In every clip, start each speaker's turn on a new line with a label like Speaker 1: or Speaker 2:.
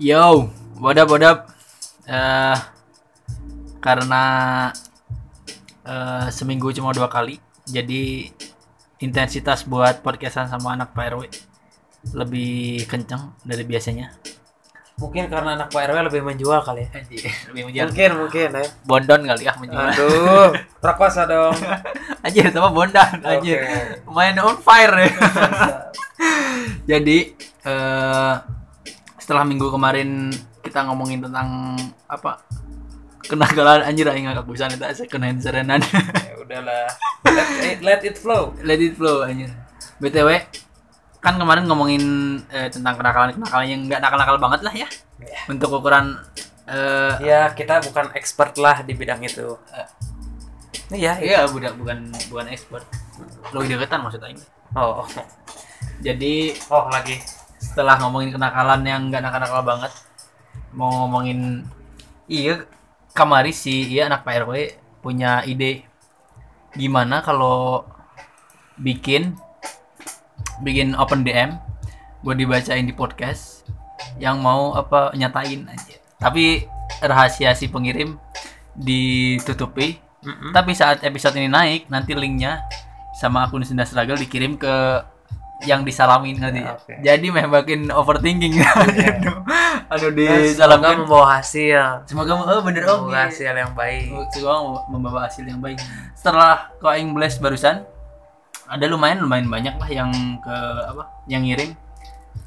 Speaker 1: Yo, bodap bodap. Eh karena eh, seminggu cuma dua kali, jadi intensitas buat podcastan sama anak Pak RW lebih kencang dari biasanya.
Speaker 2: Mungkin karena anak Pak RW lebih menjual kali ya.
Speaker 1: lebih menjual.
Speaker 2: Mungkin mungkin ya.
Speaker 1: Bondon kali ya menjual.
Speaker 2: Aduh, prakosa dong.
Speaker 1: anjir sama Bondan anjir.
Speaker 2: Oke.
Speaker 1: Main on fire ya. Jadi eh setelah minggu kemarin kita ngomongin tentang apa kenakalan anjir aing ngakak pisan eta asik kenain serenan.
Speaker 2: ya udahlah. Let it, let it flow.
Speaker 1: Let it flow anjir. BTW kan kemarin ngomongin eh, tentang kenakalan-kenakalan yang nggak nakal-nakal banget lah ya.
Speaker 2: Ya.
Speaker 1: Untuk ukuran eh
Speaker 2: Ya, kita bukan expert lah di bidang itu. Iya, iya.
Speaker 1: iya budak bukan bukan expert. Lebih deketan maksud aing.
Speaker 2: Oh, oh.
Speaker 1: Jadi
Speaker 2: Oh, lagi.
Speaker 1: setelah ngomongin kenakalan yang nggak nakal-nakal banget mau ngomongin iya kamari si iya anak Pak RW punya ide gimana kalau bikin bikin open DM buat dibacain di podcast yang mau apa nyatain aja tapi rahasia si pengirim ditutupi
Speaker 2: Mm-mm.
Speaker 1: tapi saat episode ini naik nanti linknya sama akun Sunda Struggle dikirim ke yang disalamin nanti.
Speaker 2: Ya, oke.
Speaker 1: Jadi memang makin overthinking. aduh, aduh
Speaker 2: Ya, semoga
Speaker 1: disalamin.
Speaker 2: membawa hasil.
Speaker 1: Semoga oh, bener oh.
Speaker 2: Membawa hasil yang baik.
Speaker 1: Semoga membawa hasil yang baik. Setelah kau aing blast barusan ada lumayan lumayan banyak lah yang ke apa yang ngirim.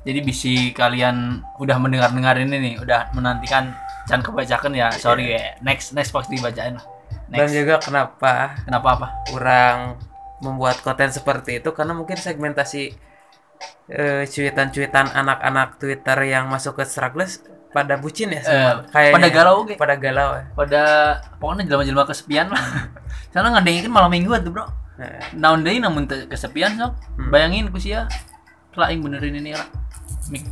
Speaker 1: Jadi bisi kalian udah mendengar dengar ini nih, udah menantikan can kebacakan ya. Sorry ya. Next next pasti dibacain lah.
Speaker 2: Iya. Dan ya-
Speaker 1: Next.
Speaker 2: juga kenapa
Speaker 1: Kenapa apa?
Speaker 2: kurang membuat konten seperti itu karena mungkin segmentasi eh, cuitan-cuitan anak-anak Twitter yang masuk ke struggles pada bucin ya semua.
Speaker 1: Eh,
Speaker 2: Kayaknya.
Speaker 1: pada galau ge.
Speaker 2: pada galau ya.
Speaker 1: pada pokoknya jelema-jelema kesepian lah. Soalnya ngandengin malam minggu atuh, Bro.
Speaker 2: Nah,
Speaker 1: Naon deui namun teu kesepian sok.
Speaker 2: Hmm.
Speaker 1: Bayangin ku sia. Lah aing benerin ini lah. Mik.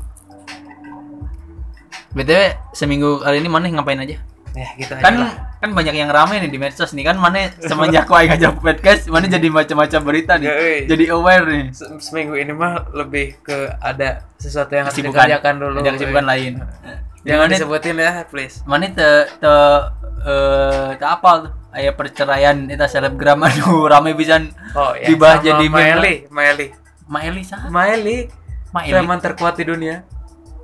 Speaker 1: BTW seminggu kali ini maneh ngapain aja?
Speaker 2: ya gitu aja
Speaker 1: Kan
Speaker 2: lah.
Speaker 1: kan banyak yang rame nih di medsos nih kan maneh semenjak ku aing ngajak podcast maneh jadi macam-macam berita
Speaker 2: Ya,
Speaker 1: nih.
Speaker 2: weh.
Speaker 1: Jadi aware nih.
Speaker 2: Se- seminggu ini mah lebih ke ada sesuatu yang harus
Speaker 1: Kesibukan.
Speaker 2: dikerjakan dulu.
Speaker 1: Ada kesibukan lain.
Speaker 2: Jangan
Speaker 1: Jangan
Speaker 2: disebutin ya, please.
Speaker 1: mana te te eh te apal tuh aya perceraian eta selebgram aduh rame pisan
Speaker 2: Oh ya.
Speaker 1: Dibahas
Speaker 2: sama
Speaker 1: jadi meme.
Speaker 2: Maeli, Maeli.
Speaker 1: Maeli sah
Speaker 2: Maeli,
Speaker 1: Maeli
Speaker 2: preman terkuat di dunia.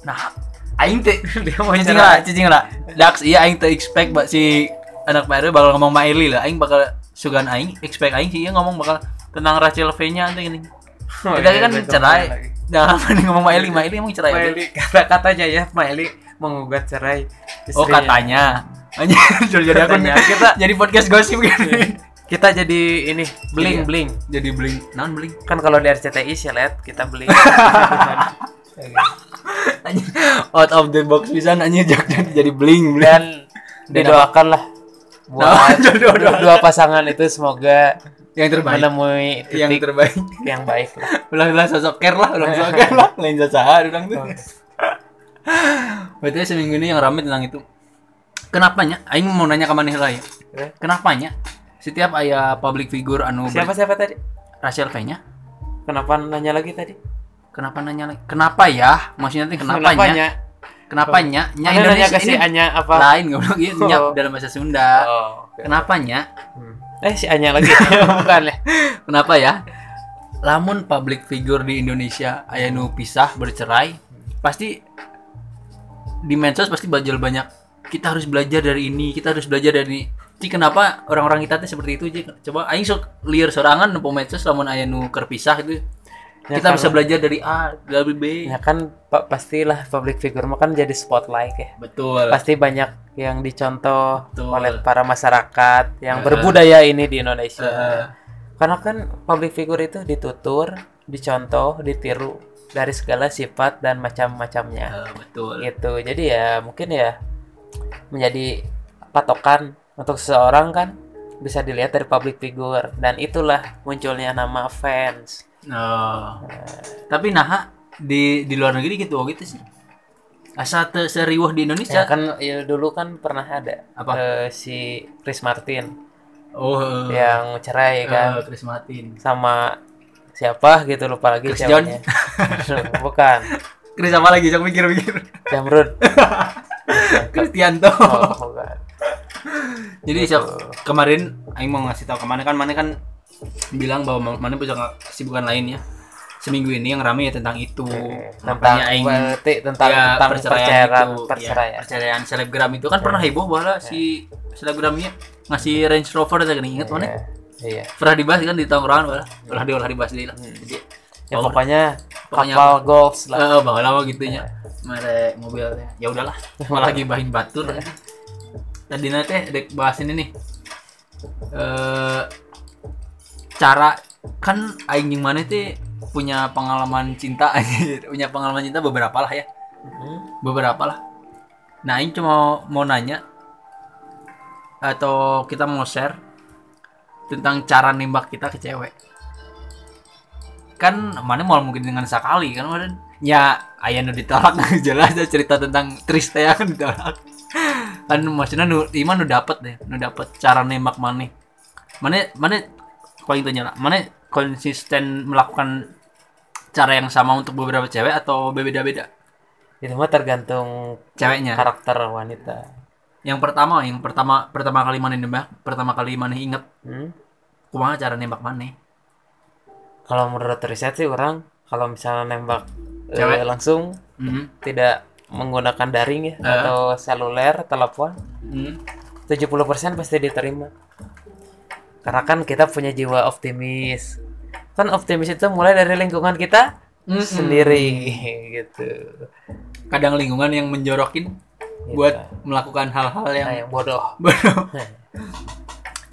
Speaker 1: nah aing teh
Speaker 2: Dia mau
Speaker 1: cicing
Speaker 2: cerai.
Speaker 1: lah cicing lah dax iya aing teh expect bak si anak baru bakal ngomong Maeli lah aing bakal sugan aing expect aing sih iya ngomong bakal tentang Rachel V nya anjing ini
Speaker 2: Oh,
Speaker 1: kita
Speaker 2: iya,
Speaker 1: kan
Speaker 2: besok
Speaker 1: cerai
Speaker 2: lagi.
Speaker 1: jangan mana ngomong Maeli Maeli emang cerai apa?
Speaker 2: Maeli kata-katanya ya Maeli mengugat cerai
Speaker 1: oh
Speaker 2: istrinya.
Speaker 1: katanya anjir jadi aku
Speaker 2: Katanya. Iya.
Speaker 1: kita jadi podcast gosip gini
Speaker 2: kita jadi ini
Speaker 1: Iya.
Speaker 2: bling bling
Speaker 1: jadi bling non bling
Speaker 2: kan kalau di RCTI silet kita bling Iya,
Speaker 1: Anjing, out of the box bisa nanya jadi jadi bling bling
Speaker 2: dan didoakan lah
Speaker 1: Nah,
Speaker 2: buat
Speaker 1: jodoh,
Speaker 2: dua, dua pasangan itu semoga
Speaker 1: yang terbaik
Speaker 2: menemui
Speaker 1: yang
Speaker 2: titik
Speaker 1: terbaik
Speaker 2: yang, baik lah
Speaker 1: ulang ulang sosok care lah ulang sosok care lah lain sasaran ulang tuh berarti seminggu ini yang rame tentang itu kenapanya aing mau nanya ke maneh lah ya
Speaker 2: Eh,
Speaker 1: kenapanya setiap ayah public figure anu
Speaker 2: siapa siapa tadi
Speaker 1: Rachel kayaknya
Speaker 2: kenapa nanya lagi tadi
Speaker 1: kenapa nanya lagi? kenapa ya maksudnya nanti kenapanya
Speaker 2: Kenapanya?
Speaker 1: kenapanya nya
Speaker 2: Anya nanya
Speaker 1: Indonesia
Speaker 2: ke si
Speaker 1: ini
Speaker 2: Anya apa
Speaker 1: lain gak bilang iya nya
Speaker 2: Oh.
Speaker 1: dalam bahasa Sunda
Speaker 2: oh, oke.
Speaker 1: kenapanya
Speaker 2: Hmm. eh si Anya lagi bukan ya
Speaker 1: Kenapa ya? Lamun public figure di Indonesia aya nu pisah bercerai, pasti di medsos pasti bajul banyak. Kita harus belajar dari ini, kita harus belajar dari ini. Ci kenapa orang-orang kita teh seperti itu, Ci? Coba aing sok liar sorangan nempo medsos lamun aya nu kerpisah gitu.
Speaker 2: Ya,
Speaker 1: kita
Speaker 2: karena-
Speaker 1: bisa belajar dari A, dari B.
Speaker 2: ya kan pa- pastilah public figure mah kan jadi spotlight ya
Speaker 1: Betul.
Speaker 2: pasti banyak yang dicontoh
Speaker 1: Betul.
Speaker 2: oleh para masyarakat
Speaker 1: Eh.
Speaker 2: yang berbudaya ini di Indonesia.
Speaker 1: Eh.
Speaker 2: Karena kan public figure itu ditutur, dicontoh, ditiru dari segala sifat dan macam-macamnya.
Speaker 1: Eh, betul.
Speaker 2: Gitu. Jadi ya mungkin ya menjadi patokan untuk seseorang kan bisa dilihat dari public figure dan itulah munculnya nama fans.
Speaker 1: Oh. Tapi nah di di luar negeri gitu oh, gitu sih. Asa teu seriuh di Indonesia.
Speaker 2: Ya kan ya dulu kan pernah ada
Speaker 1: Apa?
Speaker 2: eh, si Chris Martin
Speaker 1: Oh.
Speaker 2: Ya.
Speaker 1: eh.
Speaker 2: yang cerai kan.
Speaker 1: Eh, Chris Martin.
Speaker 2: sama siapa gitu lupa lagi
Speaker 1: Chris
Speaker 2: ceweknya. bukan
Speaker 1: Chris apa lagi? Jangan mikir-mikir.
Speaker 2: Jamrud.
Speaker 1: Kristianto.
Speaker 2: Oh, bukan.
Speaker 1: Jadi siap- kemarin Aing mau ngasih tahu kemana kan mana kan bilang bahwa ma- mana punya kesibukan lain ya. Seminggu ini yang rame ya tentang itu.
Speaker 2: tentang
Speaker 1: Makanya Aing
Speaker 2: berarti tentang
Speaker 1: ya,
Speaker 2: tentang perceraian
Speaker 1: itu. Ya,
Speaker 2: perceraian.
Speaker 1: perceraian selebgram itu kan pernah heboh bahwa si selebgramnya ngasih Range Rover tadi kan ingat mana?
Speaker 2: Iya. Iya.
Speaker 1: Pernah dibahas kan di tongkrongan bahwa ulah di ulah dibahas deh lah. Jadi
Speaker 2: Hmm. Ya pokoknya
Speaker 1: Pokoknya
Speaker 2: kapal goals lah.
Speaker 1: eh bahwa lama gitunya. Mere mobilnya. Ya udahlah, malah lagi bahin batur. Tadi nanti dek bahas ini nih. Eh cara kan aing jeung mana teh punya pengalaman cinta anjir. punya pengalaman cinta beberapa lah ya
Speaker 2: Mhm.
Speaker 1: beberapa lah. Nah, ini cuma mau nanya atau kita mau share tentang cara nembak kita ke cewek. Kan mana mau mungkin dengan sekali kan kemarin. Ya, aya nu ditolak jelas ya cerita tentang Tris teh kan ditolak. Kan maksudnya nu iman nu dapet deh, nu dapet cara nembak mana. Mana mana paling tanya lah, mana konsisten melakukan cara yang sama untuk beberapa cewek atau beda-beda
Speaker 2: Itu mah tergantung
Speaker 1: ceweknya?
Speaker 2: karakter wanita.
Speaker 1: yang pertama yang pertama pertama kali mana nembak pertama kali mana inget
Speaker 2: Hmm?
Speaker 1: kumaha cara nembak mana
Speaker 2: Kalau menurut riset sih orang kalau misalnya nembak eh,
Speaker 1: Cewek.
Speaker 2: langsung
Speaker 1: Mhm.
Speaker 2: tidak menggunakan daring ya
Speaker 1: Eh.
Speaker 2: atau seluler telepon
Speaker 1: Mhm.
Speaker 2: 70% pasti diterima. Karena kan kita punya jiwa optimis. Kan optimis itu mulai dari lingkungan kita
Speaker 1: Mm-mm.
Speaker 2: sendiri gitu.
Speaker 1: kadang lingkungan yang menjorokin
Speaker 2: Gitu.
Speaker 1: buat melakukan hal-hal yang
Speaker 2: Nah, yang Nah, bodoh.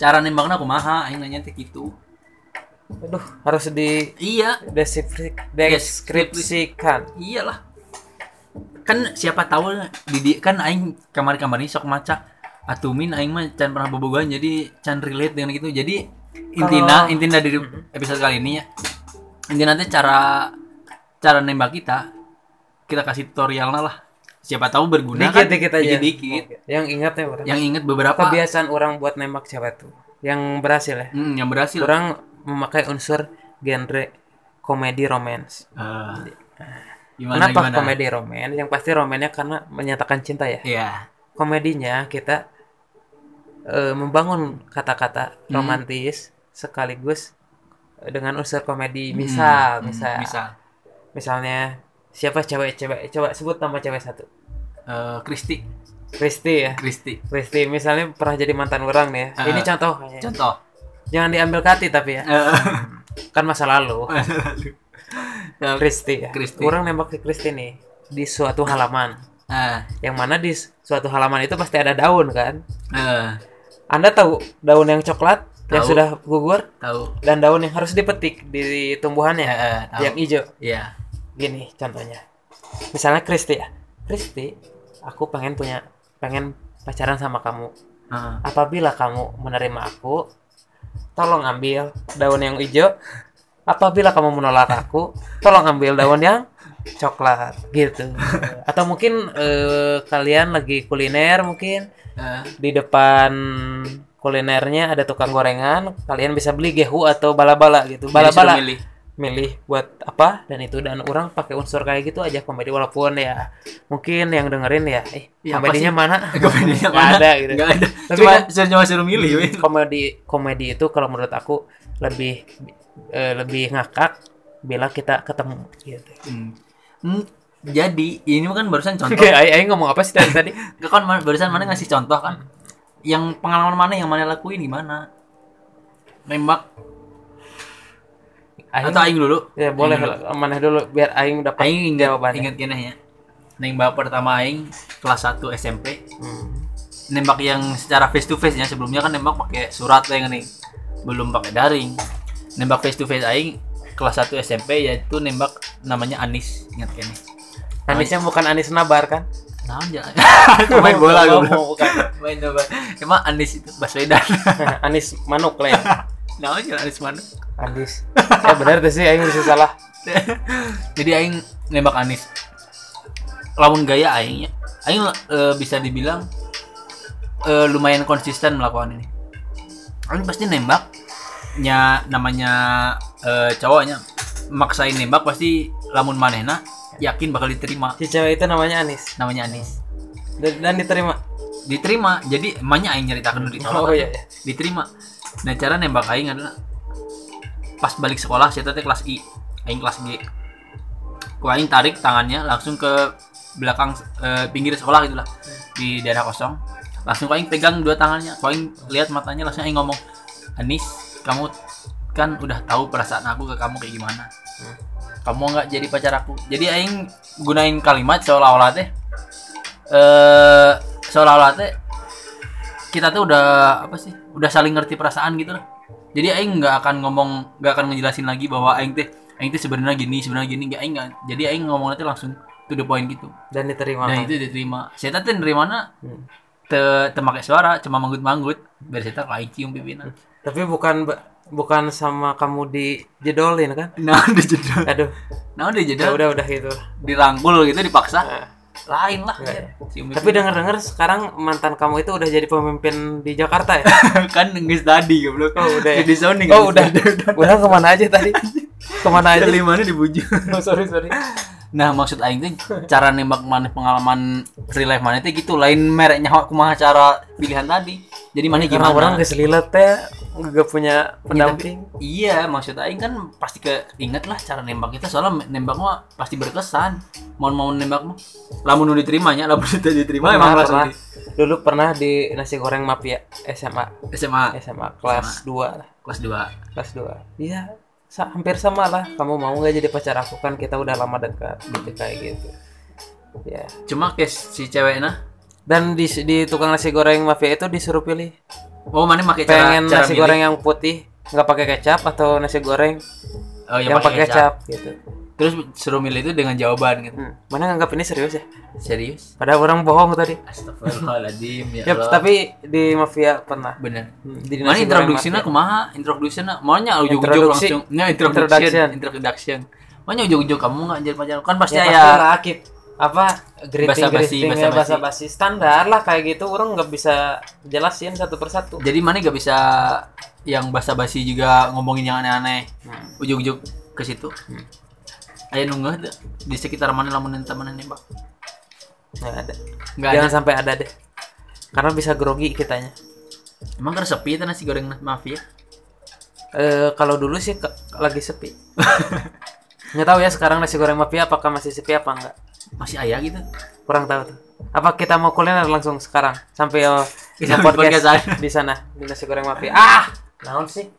Speaker 1: cara nembaknya kumaha aing nanya teh gitu
Speaker 2: Aduh, harus di
Speaker 1: iya
Speaker 2: deskripsi-
Speaker 1: Yes,
Speaker 2: deskripsikan.
Speaker 1: iyalah kan siapa tahu didi kan aing kamar-kamar ini sok maca atumin aing mah can pernah bobogan jadi can relate dengan gitu jadi intina intina dari episode kali ini ya intina nanti cara cara nembak kita kita kasih tutorialnya lah siapa tahu berguna kan
Speaker 2: Dikit-dikit aja.
Speaker 1: dikit
Speaker 2: Yang ingatnya orang.
Speaker 1: yang inget beberapa
Speaker 2: Kebiasaan orang buat nembak cewek tuh yang berhasil ya.
Speaker 1: Hmm, yang berhasil
Speaker 2: Orang memakai unsur genre komedi romance.
Speaker 1: Ah. gimana
Speaker 2: Kenapa
Speaker 1: gimana
Speaker 2: komedi romance? Yang pasti romannya karena menyatakan cinta ya.
Speaker 1: ya
Speaker 2: komedinya kita eh, membangun kata-kata
Speaker 1: Hmm.
Speaker 2: romantis sekaligus dengan unsur komedi misal
Speaker 1: Hmm.
Speaker 2: misal
Speaker 1: misal
Speaker 2: misalnya siapa cewek cewek coba sebut nama cewek satu
Speaker 1: Eh, Kristi
Speaker 2: Kristi ya
Speaker 1: Kristi
Speaker 2: Kristi misalnya pernah jadi mantan orang nih ya
Speaker 1: Ah.
Speaker 2: ini contoh
Speaker 1: contoh
Speaker 2: jangan diambil kati tapi ya
Speaker 1: Eh,
Speaker 2: kan masa lalu
Speaker 1: eh,
Speaker 2: Kristi ya
Speaker 1: Kristi.
Speaker 2: orang nembak ke Kristi nih di suatu halaman
Speaker 1: eh,
Speaker 2: yang mana di suatu halaman itu pasti ada daun kan
Speaker 1: eh,
Speaker 2: Anda tahu daun yang coklat yang
Speaker 1: Tahu.
Speaker 2: sudah gugur
Speaker 1: tahu
Speaker 2: dan daun yang harus dipetik di tumbuhannya
Speaker 1: Eh, tahu.
Speaker 2: yang hijau
Speaker 1: Iya.
Speaker 2: gini contohnya misalnya Kristi ya Kristi aku pengen punya pengen pacaran sama kamu
Speaker 1: Heeh.
Speaker 2: apabila kamu menerima aku tolong ambil daun yang hijau apabila kamu menolak aku tolong ambil daun yang coklat gitu atau mungkin eh, kalian lagi kuliner mungkin
Speaker 1: Eh,
Speaker 2: di depan kulinernya ada tukang gorengan kalian bisa beli gehu atau bala-bala gitu
Speaker 1: jadi suruh
Speaker 2: bala-bala
Speaker 1: milih.
Speaker 2: milih buat apa dan itu dan orang pakai unsur kayak gitu aja komedi walaupun ya mungkin yang dengerin ya eh
Speaker 1: Ya, apa
Speaker 2: komedinya
Speaker 1: sih?
Speaker 2: mana
Speaker 1: Komedinya
Speaker 2: Nggak
Speaker 1: mana?
Speaker 2: ada gitu
Speaker 1: Nggak ada.
Speaker 2: Tapi
Speaker 1: Cuma,
Speaker 2: kan-
Speaker 1: cuma suruh milih. weh.
Speaker 2: komedi komedi itu kalau menurut aku lebih eh, lebih ngakak bila kita ketemu gitu
Speaker 1: Hmm. Hmm, Jadi ini kan barusan contoh.
Speaker 2: Oke, ay ay ngomong apa sih tadi tadi?
Speaker 1: Nggak kan ma- barusan mana ngasih contoh kan? Yang pengalaman mana yang mana lakuin gimana? Nembak
Speaker 2: Aing-
Speaker 1: atau aing dulu?
Speaker 2: ya boleh maneh dulu biar aing dapat
Speaker 1: Aing ingat
Speaker 2: Jawabannya.
Speaker 1: ingat gini ya. Nembak pertama aing kelas 1 SMP.
Speaker 2: Hmm.
Speaker 1: Nembak yang secara face to face ya. Sebelumnya kan nembak pakai surat yang nih. Belum pakai daring. Nembak face to face aing kelas 1 SMP yaitu nembak namanya Anis. Ingat gini.
Speaker 2: Anisnya bukan Anis Nabar kan?
Speaker 1: Naon ya? main bola
Speaker 2: Bukan,
Speaker 1: gue.
Speaker 2: bukan.
Speaker 1: Main bola. Emang Anis itu Baswedan.
Speaker 2: Anis Manuk lah ya.
Speaker 1: Naon ya Anis mana?
Speaker 2: Anis. Ya benar tuh sih aing bisa salah.
Speaker 1: Jadi aing nembak Anis. Lamun gaya aingnya, aing eh, bisa dibilang eh, lumayan konsisten melakukan ini. Aing pasti nembak nya namanya eh, cowoknya maksain nembak pasti lamun manehna yakin bakal diterima
Speaker 2: si cewek itu namanya Anis
Speaker 1: namanya Anis
Speaker 2: dan, dan diterima
Speaker 1: diterima jadi emaknya aing nyeritakan dulu ditolak
Speaker 2: oh iya iya.
Speaker 1: diterima nah cara nembak aing adalah pas balik sekolah saya tadi kelas I aing kelas G ku aing tarik tangannya langsung ke belakang eh, pinggir sekolah gitulah di daerah kosong langsung ku aing pegang dua tangannya ku aing lihat matanya langsung aing ngomong Anis kamu kan udah tahu perasaan aku ke kamu kayak gimana
Speaker 2: Hmm.
Speaker 1: kamu nggak jadi pacar aku jadi aing gunain kalimat seolah-olah teh eh seolah-olah teh kita tuh udah apa sih udah saling ngerti perasaan gitu lah jadi aing nggak akan ngomong nggak akan ngejelasin lagi bahwa aing teh aing teh sebenarnya gini sebenarnya gini nggak aing nggak jadi aing ngomong nanti langsung to the point gitu
Speaker 2: dan diterima
Speaker 1: dan itu diterima saya tadi nerimana
Speaker 2: Hmm.
Speaker 1: te temake suara cuma manggut-manggut biar saya aing cium pipina
Speaker 2: tapi bukan bukan sama kamu dijedolin kan
Speaker 1: nah udah jeda
Speaker 2: aduh
Speaker 1: nah udah
Speaker 2: ya
Speaker 1: jeda
Speaker 2: udah udah gitu
Speaker 1: dirangkul gitu dipaksa
Speaker 2: Nah,
Speaker 1: lain lah
Speaker 2: Nggak
Speaker 1: ya. cium
Speaker 2: tapi
Speaker 1: pipina.
Speaker 2: denger dengar sekarang mantan kamu itu udah jadi pemimpin di Jakarta ya
Speaker 1: kan nggak tadi goblok
Speaker 2: Oh, udah ya?
Speaker 1: Jadi sounding gitu.
Speaker 2: oh udah udah kemana aja tadi kemana aja
Speaker 1: kelimanya dibujuk
Speaker 2: Oh, sorry sorry
Speaker 1: Nah maksud Aing teh cara nembak mana pengalaman real life mana teh gitu lain mereknya kumaha cara pilihan tadi. Jadi mana gimana?
Speaker 2: karena orang keselilet teh gak ya, punya
Speaker 1: Ya, tapi-
Speaker 2: pendamping
Speaker 1: Iya maksud Aing kan pasti keinget lah cara nembak kita soalnya nembak mah pasti berkesan. Mau mau nembak mah, lamun nu diterimanya, lamun teu diterima
Speaker 2: Pernah,
Speaker 1: emang langsung
Speaker 2: pernah. dulu pernah di nasi goreng mafia
Speaker 1: di-
Speaker 2: SMA
Speaker 1: SMA
Speaker 2: SMA kelas 2 lah
Speaker 1: kelas 2
Speaker 2: kelas 2 iya sa- hampir sama lah kamu mau nggak jadi pacar aku kan kita udah lama dekat gitu kayak gitu ya
Speaker 1: Cuma case si cewek nah,
Speaker 2: dan di, di tukang nasi goreng mafia itu disuruh pilih
Speaker 1: oh mana pakai cara
Speaker 2: pengen
Speaker 1: cara
Speaker 2: nasi
Speaker 1: milih.
Speaker 2: goreng yang putih nggak pakai kecap atau nasi goreng
Speaker 1: oh, yang,
Speaker 2: yang pakai kecap gitu
Speaker 1: Terus suruh milih itu dengan jawaban gitu.
Speaker 2: Hmm, mana nganggap ini serius ya
Speaker 1: Serius?
Speaker 2: padahal orang bohong tadi
Speaker 1: Astagfirullahaladzim ya
Speaker 2: Yap,
Speaker 1: Allah.
Speaker 2: tapi di mafia pernah
Speaker 1: bener.
Speaker 2: Hmm, di
Speaker 1: Mana
Speaker 2: nasi goreng
Speaker 1: introduksinya
Speaker 2: mafia.
Speaker 1: kumaha? Introduksinya maunya ujung-ujung
Speaker 2: Introduksi.
Speaker 1: langsung. Nah, introduction,
Speaker 2: Introduction.
Speaker 1: introduction. Maunya ujung-ujung kamu nggak jadi pacar kan pasti
Speaker 2: ya,
Speaker 1: ya,
Speaker 2: pasti lah Akib. apa greeting
Speaker 1: Basa-basi,
Speaker 2: greeting
Speaker 1: basa-basi.
Speaker 2: bahasa basi standar lah kayak gitu orang nggak bisa jelasin satu persatu
Speaker 1: Jadi mana nggak bisa yang basa-basi juga ngomongin yang aneh-aneh.
Speaker 2: Hmm.
Speaker 1: Ujung-ujung ke situ. Ayo nunggu tuh, di sekitar mana lamun temenan nembak.
Speaker 2: nggak ada
Speaker 1: Enggak ada.
Speaker 2: jangan sampai ada deh karena bisa grogi kitanya
Speaker 1: Emang kan sepi itu nasi goreng mafia.
Speaker 2: Eh kalau dulu sih ke- lagi sepi nggak tahu ya sekarang nasi goreng mafia apakah masih sepi apa enggak
Speaker 1: Masih ayah gitu.
Speaker 2: kurang tahu tuh apa kita mau kuliner langsung sekarang sampai eh,
Speaker 1: Kita
Speaker 2: di
Speaker 1: podcast aja.
Speaker 2: di sana di nasi goreng mafia ah naon sih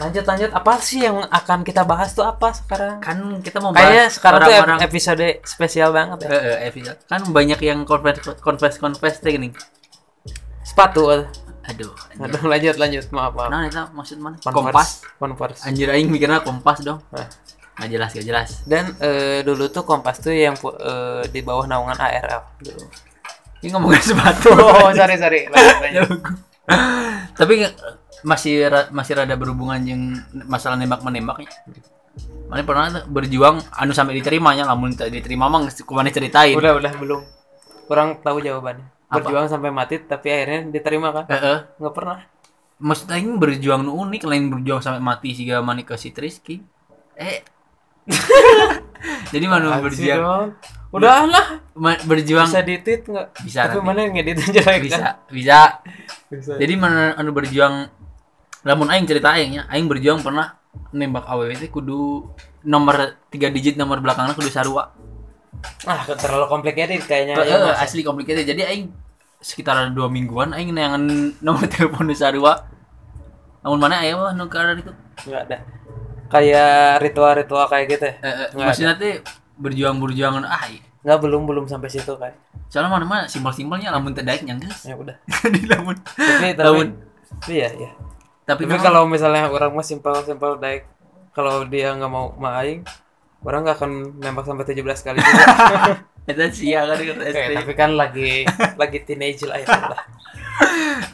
Speaker 2: lanjut lanjut apa sih yang akan kita bahas tuh apa sekarang
Speaker 1: Kan kita mau
Speaker 2: Kayaknya
Speaker 1: bahas
Speaker 2: sekarang tuh ep-
Speaker 1: orang-orang-
Speaker 2: episode spesial banget ya.
Speaker 1: Eh, eh, episode. Kan banyak yang confess confess confess teh gini.
Speaker 2: Sepatu. Aduh,
Speaker 1: Aduh.
Speaker 2: lanjut lanjut maaf maaf.
Speaker 1: Nah, itu maksud mana?
Speaker 2: Converse.
Speaker 1: Kompas.
Speaker 2: Converse.
Speaker 1: Anjir aing mikirnya kompas dong.
Speaker 2: Nah.
Speaker 1: Nggak jelas, nggak jelas.
Speaker 2: Dan eh, dulu tuh Kompas tuh yang pu- eh, di bawah naungan ARL. Dulu.
Speaker 1: Ini ngomongin sepatu.
Speaker 2: Oh, sorry sorry. Lanjut, lanjut.
Speaker 1: Tapi nggak- masih ra- masih rada berhubungan yang masalah nembak menembaknya. Mana pernah tuh berjuang anu sampai diterimanya, lamun teu diterima mah geus kumana ceritain.
Speaker 2: udah udah belum. Kurang tahu jawabannya.
Speaker 1: Apa?
Speaker 2: Berjuang sampai mati tapi akhirnya diterima kan?
Speaker 1: Heeh.
Speaker 2: Nggak pernah.
Speaker 1: Maksud aing berjuang nu unik lain berjuang sampai mati siga mani ke si Triski. Eh. Jadi mana
Speaker 2: Anjir,
Speaker 1: berjuang
Speaker 2: dong. Udah lah.
Speaker 1: ma- berjuang
Speaker 2: Bisa ditit nggak?
Speaker 1: Bisa
Speaker 2: Tapi
Speaker 1: nanti.
Speaker 2: mana yang ngedit aja lagi kan?
Speaker 1: bisa bisa
Speaker 2: Bisa.
Speaker 1: Jadi mana anu berjuang lamun aing cerita aing ya, aing berjuang pernah nembak AWW itu kudu nomor tiga digit nomor belakangnya kudu sarua.
Speaker 2: Ah, terlalu komplikated kayaknya.
Speaker 1: Eh,
Speaker 2: ya,
Speaker 1: eh,
Speaker 2: Mas.
Speaker 1: asli complicated. Jadi aing sekitar dua mingguan aing neangan nomor telepon nu sarua. Namun mana aing mah nu kada itu.
Speaker 2: Nggak ada. Kayak ritual-ritual kayak gitu ya.
Speaker 1: Eh, eh,
Speaker 2: Nggak
Speaker 1: maksudnya teh berjuang-berjuang ah iya.
Speaker 2: Nggak belum belum sampai situ kan.
Speaker 1: Soalnya mana mana simpel-simpelnya lamun teu daek nyanggeus.
Speaker 2: Ya udah.
Speaker 1: Di lamun.
Speaker 2: Tapi tapi
Speaker 1: Lamun.
Speaker 2: iya iya.
Speaker 1: Tapi,
Speaker 2: Tapi
Speaker 1: memang-
Speaker 2: kalau misalnya orang mah simpel simpel daik kalau dia nggak mau maing orang nggak akan nembak sampai 17 kali juga.
Speaker 1: eta sia kan kata
Speaker 2: Eh,
Speaker 1: SD.
Speaker 2: tapi kan lagi lagi teenage lah itu lah.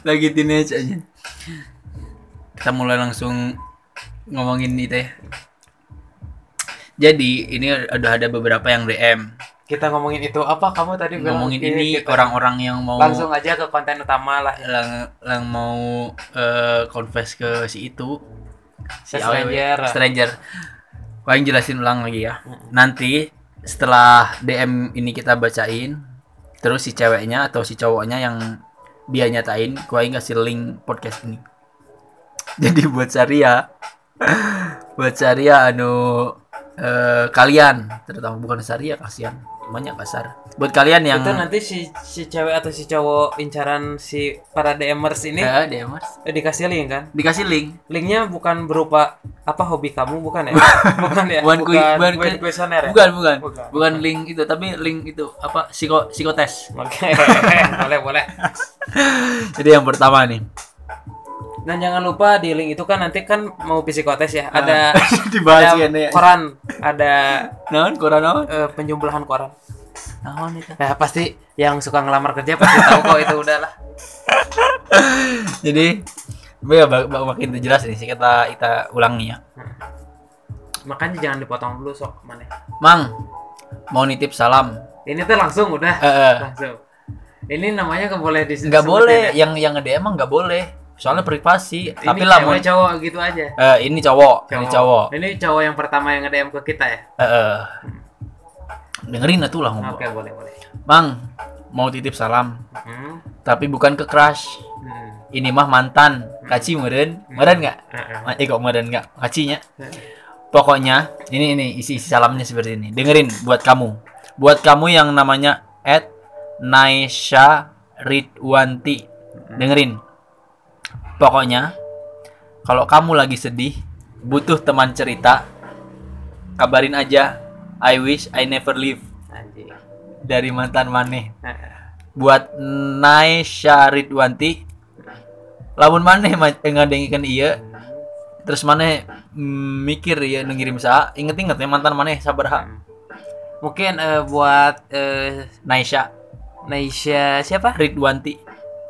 Speaker 1: lagi teenage aja kita mulai langsung ngomongin itu ya jadi ini udah ada beberapa yang DM
Speaker 2: Kita ngomongin itu apa kamu tadi bilang
Speaker 1: ngomongin
Speaker 2: Oke,
Speaker 1: ini
Speaker 2: kita-
Speaker 1: orang-orang yang mau Iya,
Speaker 2: langsung aja ke konten utama lah. ya.
Speaker 1: lang, lang mau eh, confess ke si itu si iya.
Speaker 2: Ke stranger.
Speaker 1: ya. stranger Wah, yang jelasin ulang lagi ya nanti setelah DM ini kita bacain terus si ceweknya atau si cowoknya yang dia nyatain ku aing kasih link podcast ini jadi buat Saria buat Saria anu eh, kalian terutama bukan Saria kasihan banyak kasar buat kalian yang
Speaker 2: Itu nanti si si cewek atau si cowok incaran si para DMers ini
Speaker 1: Eh, DMers.
Speaker 2: eh, dikasih link kan?
Speaker 1: dikasih link
Speaker 2: Linknya bukan berupa apa hobi kamu bukan ya? bukan ya?
Speaker 1: Bukan kui- bukan
Speaker 2: bukan
Speaker 1: kui-
Speaker 2: kuesioner ya?
Speaker 1: bukan bukan
Speaker 2: Bukan.
Speaker 1: bukan link itu tapi link itu apa psiko psikotes
Speaker 2: Oke, boleh boleh.
Speaker 1: jadi yang pertama nih
Speaker 2: Dan jangan lupa di link itu kan nanti kan mau psikotes ya. Ada
Speaker 1: dibahas
Speaker 2: ada
Speaker 1: ya nih
Speaker 2: koran, ada
Speaker 1: naon kurang naon
Speaker 2: eh, penjumlahan koran.
Speaker 1: naon itu
Speaker 2: Nah, pasti yang suka ngelamar kerja pasti tahu kok itu udahlah.
Speaker 1: jadi tapi ya bak- bak- makin jelas nih sih kita kita ulangi ya
Speaker 2: Makanya jangan dipotong dulu sok mana.
Speaker 1: mang mau nitip salam
Speaker 2: Ini tuh langsung udah.
Speaker 1: Eh, eh,
Speaker 2: Langsung. Ini namanya nggak boleh di
Speaker 1: nggak
Speaker 2: ya.
Speaker 1: boleh yang yang nge DM nggak boleh soalnya privasi tapi
Speaker 2: Tapi
Speaker 1: lah mau
Speaker 2: Hmm. cowok gitu aja.
Speaker 1: Eh, ini cowok, ini cowok
Speaker 2: Ini cowok yang pertama yang nge-DM ke kita ya.
Speaker 1: Eh, eh. dengerin atuh lah ngomong
Speaker 2: Oke, boleh, boleh.
Speaker 1: mang mau titip salam
Speaker 2: Hmm.
Speaker 1: tapi bukan ke crush
Speaker 2: Hmm.
Speaker 1: ini mah mantan kaci meren meren nggak eh
Speaker 2: Heeh.
Speaker 1: kok meren nggak kacinya pokoknya ini ini isi, isi salamnya seperti ini dengerin buat kamu buat kamu yang namanya at Naisha Ridwanti dengerin pokoknya kalau kamu lagi sedih butuh teman cerita kabarin aja I wish I never leave
Speaker 2: Anjing. Hmm.
Speaker 1: dari mantan maneh
Speaker 2: Heeh.
Speaker 1: buat Naisha Ridwanti lamun maneh ma- ngadengikan iya terus maneh mm, mikir ya ngirim sa inget-inget ya mantan maneh sabar
Speaker 2: Mungkin eh, buat eh,
Speaker 1: Naisha
Speaker 2: Naisha siapa?
Speaker 1: Ridwanti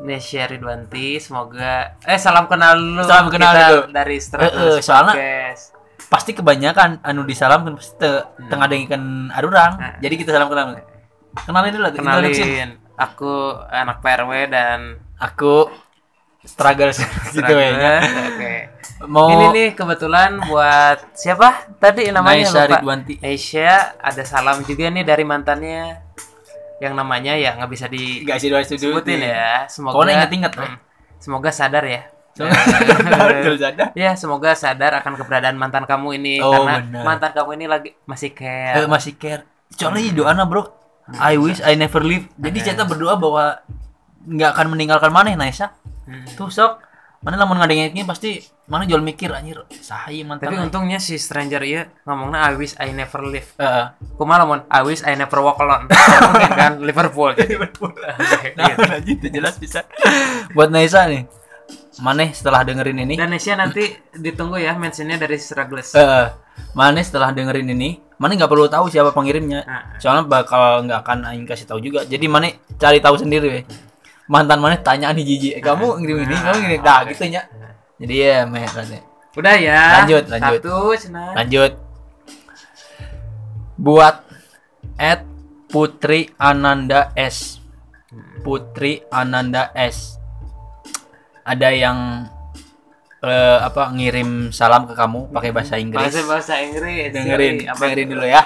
Speaker 2: Naisha Ridwanti, semoga eh salam kenal dulu.
Speaker 1: Salam kenal
Speaker 2: kita
Speaker 1: dulu.
Speaker 2: dari Stratus
Speaker 1: Eh, eh, soalnya-
Speaker 2: Podcast.
Speaker 1: pasti kebanyakan anu disalam kan pasti te, tengah dengikan arurang
Speaker 2: Hmm.
Speaker 1: jadi kita salam kenal kenalin dulu lah, introduction.
Speaker 2: kenalin aku anak PRW dan
Speaker 1: aku struggle gitu ya Oh.
Speaker 2: Stratus. Oke.
Speaker 1: mau
Speaker 2: Ini nih kebetulan buat siapa tadi namanya
Speaker 1: Naisha
Speaker 2: lupa.
Speaker 1: Ridwanti
Speaker 2: Aisyah ada salam juga nih dari mantannya yang namanya ya nggak bisa disebutin
Speaker 1: gak sih dua setuju
Speaker 2: ya semoga
Speaker 1: Pokoknya inget-inget, ya.
Speaker 2: Hmm, semoga sadar ya
Speaker 1: Eh,
Speaker 2: ya semoga sadar akan keberadaan mantan kamu ini
Speaker 1: Oh,
Speaker 2: karena
Speaker 1: benar. Eh,
Speaker 2: mantan kamu ini lagi masih care
Speaker 1: masih care soalnya
Speaker 2: Iya.
Speaker 1: doana bro I wish I never leave jadi kita berdoa bahwa nggak akan meninggalkan maneh Naisha
Speaker 2: Hmm.
Speaker 1: tuh sok mana lamun ngadengerin pasti mana jual mikir anjir sahai mantan
Speaker 2: tapi
Speaker 1: Tapi,
Speaker 2: untungnya si stranger ya ngomongnya I wish I never leave kumalah mon I wish I never walk alone mungkin kan Liverpool jadi Iya.
Speaker 1: nah, lanjut, itu jelas bisa buat Naisha nih maneh setelah dengerin ini
Speaker 2: dan Aisyah nanti ditunggu ya mentionnya dari Struggles
Speaker 1: eh Maneh setelah dengerin ini, Maneh nggak perlu tahu siapa pengirimnya.
Speaker 2: Ah.
Speaker 1: Soalnya bakal nggak akan aing kasih tahu juga. Jadi Maneh cari tahu sendiri weh. Mantan Maneh tanya nih Jiji, eh, kamu ngirim ini, kamu ngirim dah gitu ya. Jadi ya meh Maneh.
Speaker 2: udah ya
Speaker 1: Lanjut, lanjut.
Speaker 2: satu senang
Speaker 1: Lanjut. Buat at Putri Ananda S. Putri Ananda S. Ada yang eh, apa ngirim salam ke kamu pakai bahasa Inggris.
Speaker 2: bahasa bahasa Inggris iya.
Speaker 1: dengerin
Speaker 2: Jadi, apa
Speaker 1: dengerin dulu ya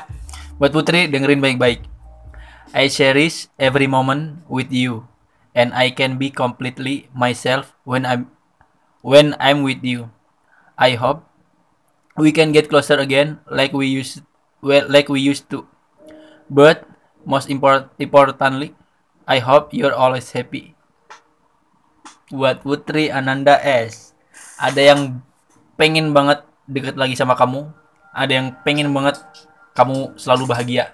Speaker 1: buat putri dengerin baik-baik I cherish every moment with you and I can be completely myself when I'm when I'm with you I hope we can get closer again like we used well like we used to but most import, importantly I hope you're always happy buat Putri Ananda S ada yang pengen banget deket lagi sama kamu ada yang pengen banget kamu selalu bahagia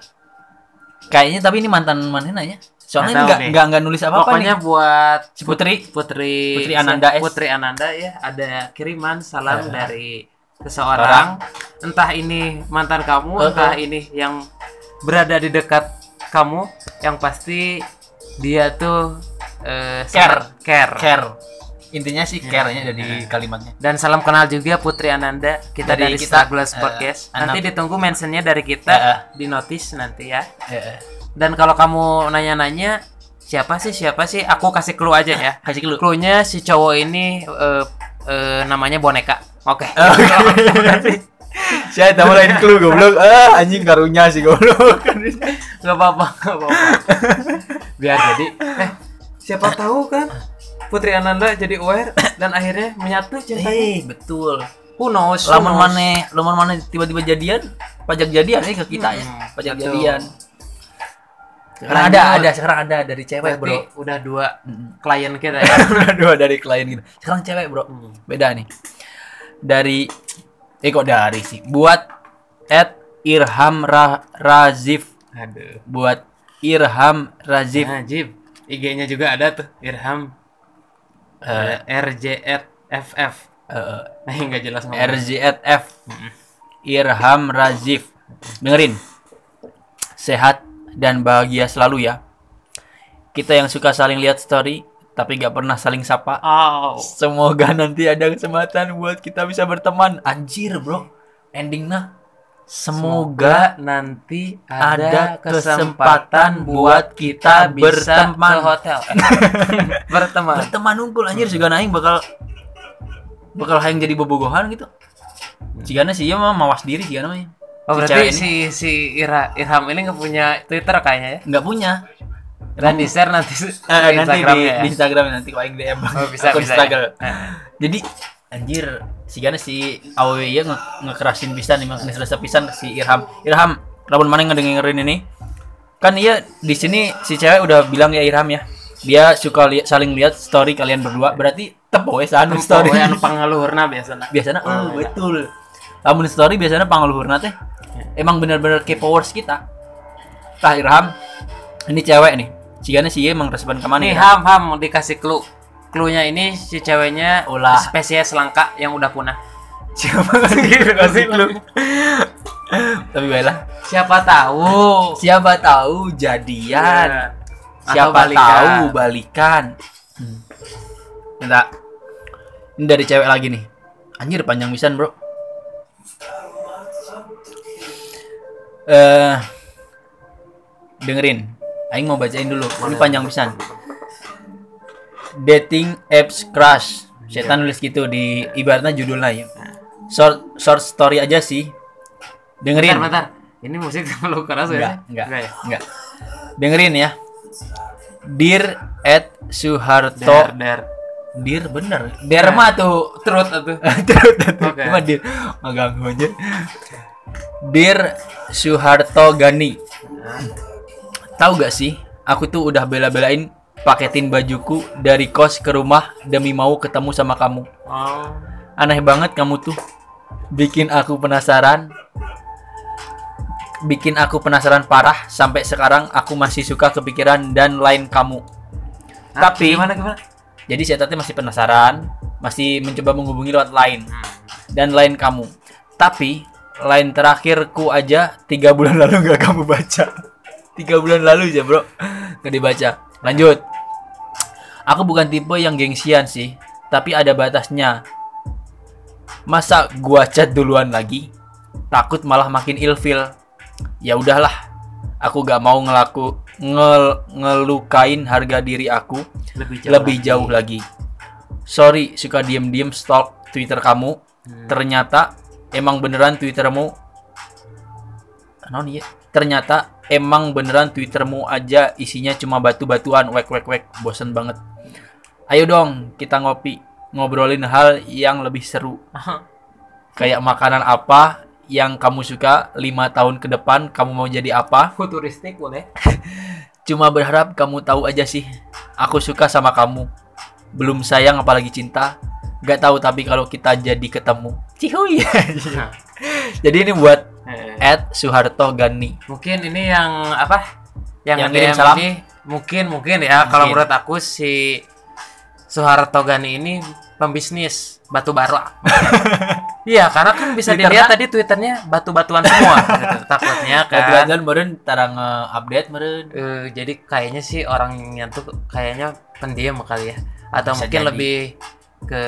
Speaker 1: kayaknya tapi ini mantan mantan aja soalnya ini
Speaker 2: Nggak tahu
Speaker 1: nggak
Speaker 2: nih.
Speaker 1: nggak nggak nulis apa apa
Speaker 2: pokoknya
Speaker 1: nih
Speaker 2: buat
Speaker 1: si Putri
Speaker 2: Putri
Speaker 1: Putri Ananda S.
Speaker 2: Putri Ananda ya ada kiriman
Speaker 1: Ya.
Speaker 2: salam dari seseorang entah ini mantan kamu
Speaker 1: Uh-huh.
Speaker 2: entah ini yang berada di dekat kamu yang pasti dia tuh eh, sangat care
Speaker 1: care intinya sih
Speaker 2: Iya.
Speaker 1: care-nya dari kalimatnya
Speaker 2: dan salam kenal juga Putri Ananda kita
Speaker 1: Dari
Speaker 2: dari,
Speaker 1: kita,
Speaker 2: Struggles
Speaker 1: eh,
Speaker 2: Podcast
Speaker 1: anak-
Speaker 2: nanti ditunggu mentionnya dari kita
Speaker 1: Eh, eh.
Speaker 2: di notice nanti ya
Speaker 1: Eh, eh.
Speaker 2: dan kalau kamu nanya-nanya siapa sih siapa sih aku kasih clue aja ya
Speaker 1: kasih clue
Speaker 2: Cluenya si cowok ini eh, eh, namanya boneka. Oke.
Speaker 1: Oke. Saya tambah lain clue goblok. Ah, anjing karunya sih goblok. Enggak apa-apa, enggak apa-apa.
Speaker 2: biar jadi eh siapa tahu kan Putri Ananda jadi aware dan akhirnya menyatu cintanya.
Speaker 1: Eh, betul.
Speaker 2: Who knows? who
Speaker 1: Lamun
Speaker 2: knows?
Speaker 1: mana, lamun mana tiba-tiba jadian, pajak jadian ini ke kita ya,
Speaker 2: Hmm,
Speaker 1: pajak
Speaker 2: betul.
Speaker 1: jadian. Sekarang ada,
Speaker 2: Lanjut.
Speaker 1: ada, sekarang ada dari cewek,
Speaker 2: Berarti
Speaker 1: Bro.
Speaker 2: ya, udah dua
Speaker 1: Mm-mm.
Speaker 2: klien kita ya.
Speaker 1: Udah dua dari klien gitu. Sekarang cewek, Bro.
Speaker 2: Hmm.
Speaker 1: Beda nih. Dari eh kok dari sih? Buat at Irham Ra- Razif
Speaker 2: Aduh.
Speaker 1: buat Irham Razif
Speaker 2: Nah, Jib, IG-nya juga ada tuh Irham eh, RJFF.
Speaker 1: eh,
Speaker 2: Nah, enggak jelas ngomong.
Speaker 1: RZF Irham Razif dengerin sehat dan bahagia selalu ya kita yang suka saling lihat story tapi gak pernah saling sapa
Speaker 2: Au.
Speaker 1: semoga nanti ada kesempatan buat kita bisa berteman anjir bro endingnya semoga
Speaker 2: nanti
Speaker 1: ada kesempatan buat kita
Speaker 2: bisa
Speaker 1: berteman.
Speaker 2: ke hotel. berteman.
Speaker 1: berteman unggul anjir juga naing bakal bakal hayang jadi bobogohan gitu Cigana sih iya mah mawas diri Cigana mah
Speaker 2: Oh,
Speaker 1: Si
Speaker 2: berarti
Speaker 1: cewek
Speaker 2: si si Ira Irham ini nggak punya Twitter kayaknya ya?
Speaker 1: nggak punya
Speaker 2: Dan di share nanti di
Speaker 1: Eh, nanti di,
Speaker 2: Instagramnya ya?
Speaker 1: di Instagram nanti kau DM.
Speaker 2: Oh, bisa
Speaker 1: Akun
Speaker 2: bisa.
Speaker 1: Instagram.
Speaker 2: Ya. Eh,
Speaker 1: Jadi anjir si Gana si AWW ya nge ngekerasin pisan nih ngeselesa pisan ke si Irham. Irham, lamun mana ngedengerin ini? Kan iya di sini si cewek udah bilang ya Irham ya. Dia suka li- saling lihat story kalian berdua. Berarti tepo ya
Speaker 2: anu
Speaker 1: anu story.
Speaker 2: poe, anu pangaluhurna biasanya.
Speaker 1: Biasana eh,
Speaker 2: Oh, iya.
Speaker 1: betul. Lamun story biasanya pangaluhurna teh
Speaker 2: Iya.
Speaker 1: emang bener-bener kepoers kita. Tah Irham, ini cewek nih. Si Gana sih emang respon kemana
Speaker 2: Nih
Speaker 1: ya?
Speaker 2: Ham Ham mau dikasih clue. Clue-nya ini si ceweknya
Speaker 1: Ulah.
Speaker 2: spesies langka yang udah punah.
Speaker 1: siapa gitu kasih lu tapi baiklah
Speaker 2: Siapa tahu.
Speaker 1: siapa tahu jadian
Speaker 2: Iya, Atau
Speaker 1: siapa
Speaker 2: balikan.
Speaker 1: tahu balikan Hmm. minta ini dari cewek lagi nih anjir panjang pisan bro eh dengerin Aing mau bacain dulu ini panjang pisan dating apps crush setan nulis gitu di ibaratnya judulnya ya short short story aja sih dengerin
Speaker 2: Bentar, bentar. Ini musik terlalu keras
Speaker 1: Enggak, enggak,
Speaker 2: ya? ya?
Speaker 1: enggak. Dengerin ya. Dear at Suharto.
Speaker 2: Der, der.
Speaker 1: Dear bener. Dear mah tuh.
Speaker 2: Truth itu.
Speaker 1: Terus terus.
Speaker 2: Oke.
Speaker 1: Cuma dear. Maganggu aja. Dear Suharto Gani. Tahu gak sih, aku tuh udah bela-belain paketin bajuku dari kos ke rumah demi mau ketemu sama kamu.
Speaker 2: Oh.
Speaker 1: Aneh banget kamu tuh. Bikin aku penasaran. Bikin aku penasaran parah sampai sekarang aku masih suka kepikiran dan lain kamu.
Speaker 2: Ah,
Speaker 1: Tapi-
Speaker 2: gimana gimana?
Speaker 1: Jadi saya tadi masih penasaran, masih mencoba menghubungi lewat lain dan lain kamu. Tapi lain terakhirku aja tiga bulan lalu nggak kamu baca. Tiga bulan lalu aja bro, nggak dibaca. Lanjut. Aku bukan tipe yang gengsian sih, tapi ada batasnya. Masa gua chat duluan lagi? Takut malah makin ilfil. Ya udahlah, aku gak mau ngelaku ngel- ngelukain harga diri aku
Speaker 2: Lebih
Speaker 1: lebih jauh lagi. Sorry, suka diem-diem stalk Twitter kamu. Ternyata emang beneran Twittermu. Anon ya. Ternyata emang beneran Twittermu aja isinya cuma batu-batuan wek wek wek. Bosen banget. Ayo dong, kita ngopi, ngobrolin hal yang lebih seru. Kayak makanan apa yang kamu suka lima tahun ke depan kamu mau jadi apa?
Speaker 2: Futuristik boleh.
Speaker 1: Cuma berharap kamu tahu aja sih, aku suka sama kamu. Belum sayang apalagi cinta. Gak tahu tapi kalau kita jadi ketemu. Cihuy. Iya. jadi ini buat
Speaker 2: Nah, Eh,
Speaker 1: Ed Suharto Gani.
Speaker 2: mungkin ini yang apa? Yang,
Speaker 1: Yang
Speaker 2: nge-DM
Speaker 1: kirim salam?
Speaker 2: ini mungkin mungkin ya kalau
Speaker 1: Mungkin.
Speaker 2: menurut aku si Soeharto Gani ini pembisnis batu bara. Iya, karena kan bisa
Speaker 1: Twitternya-
Speaker 2: dilihat tadi twitternya batu-batuan semua gitu. Takutnya kan.
Speaker 1: Kebetulan meren tara nge-update meren.
Speaker 2: Eh, jadi kayaknya sih orangnya tuh kayaknya pendiam kali ya atau
Speaker 1: Bisa
Speaker 2: mungkin
Speaker 1: jadi.
Speaker 2: lebih ke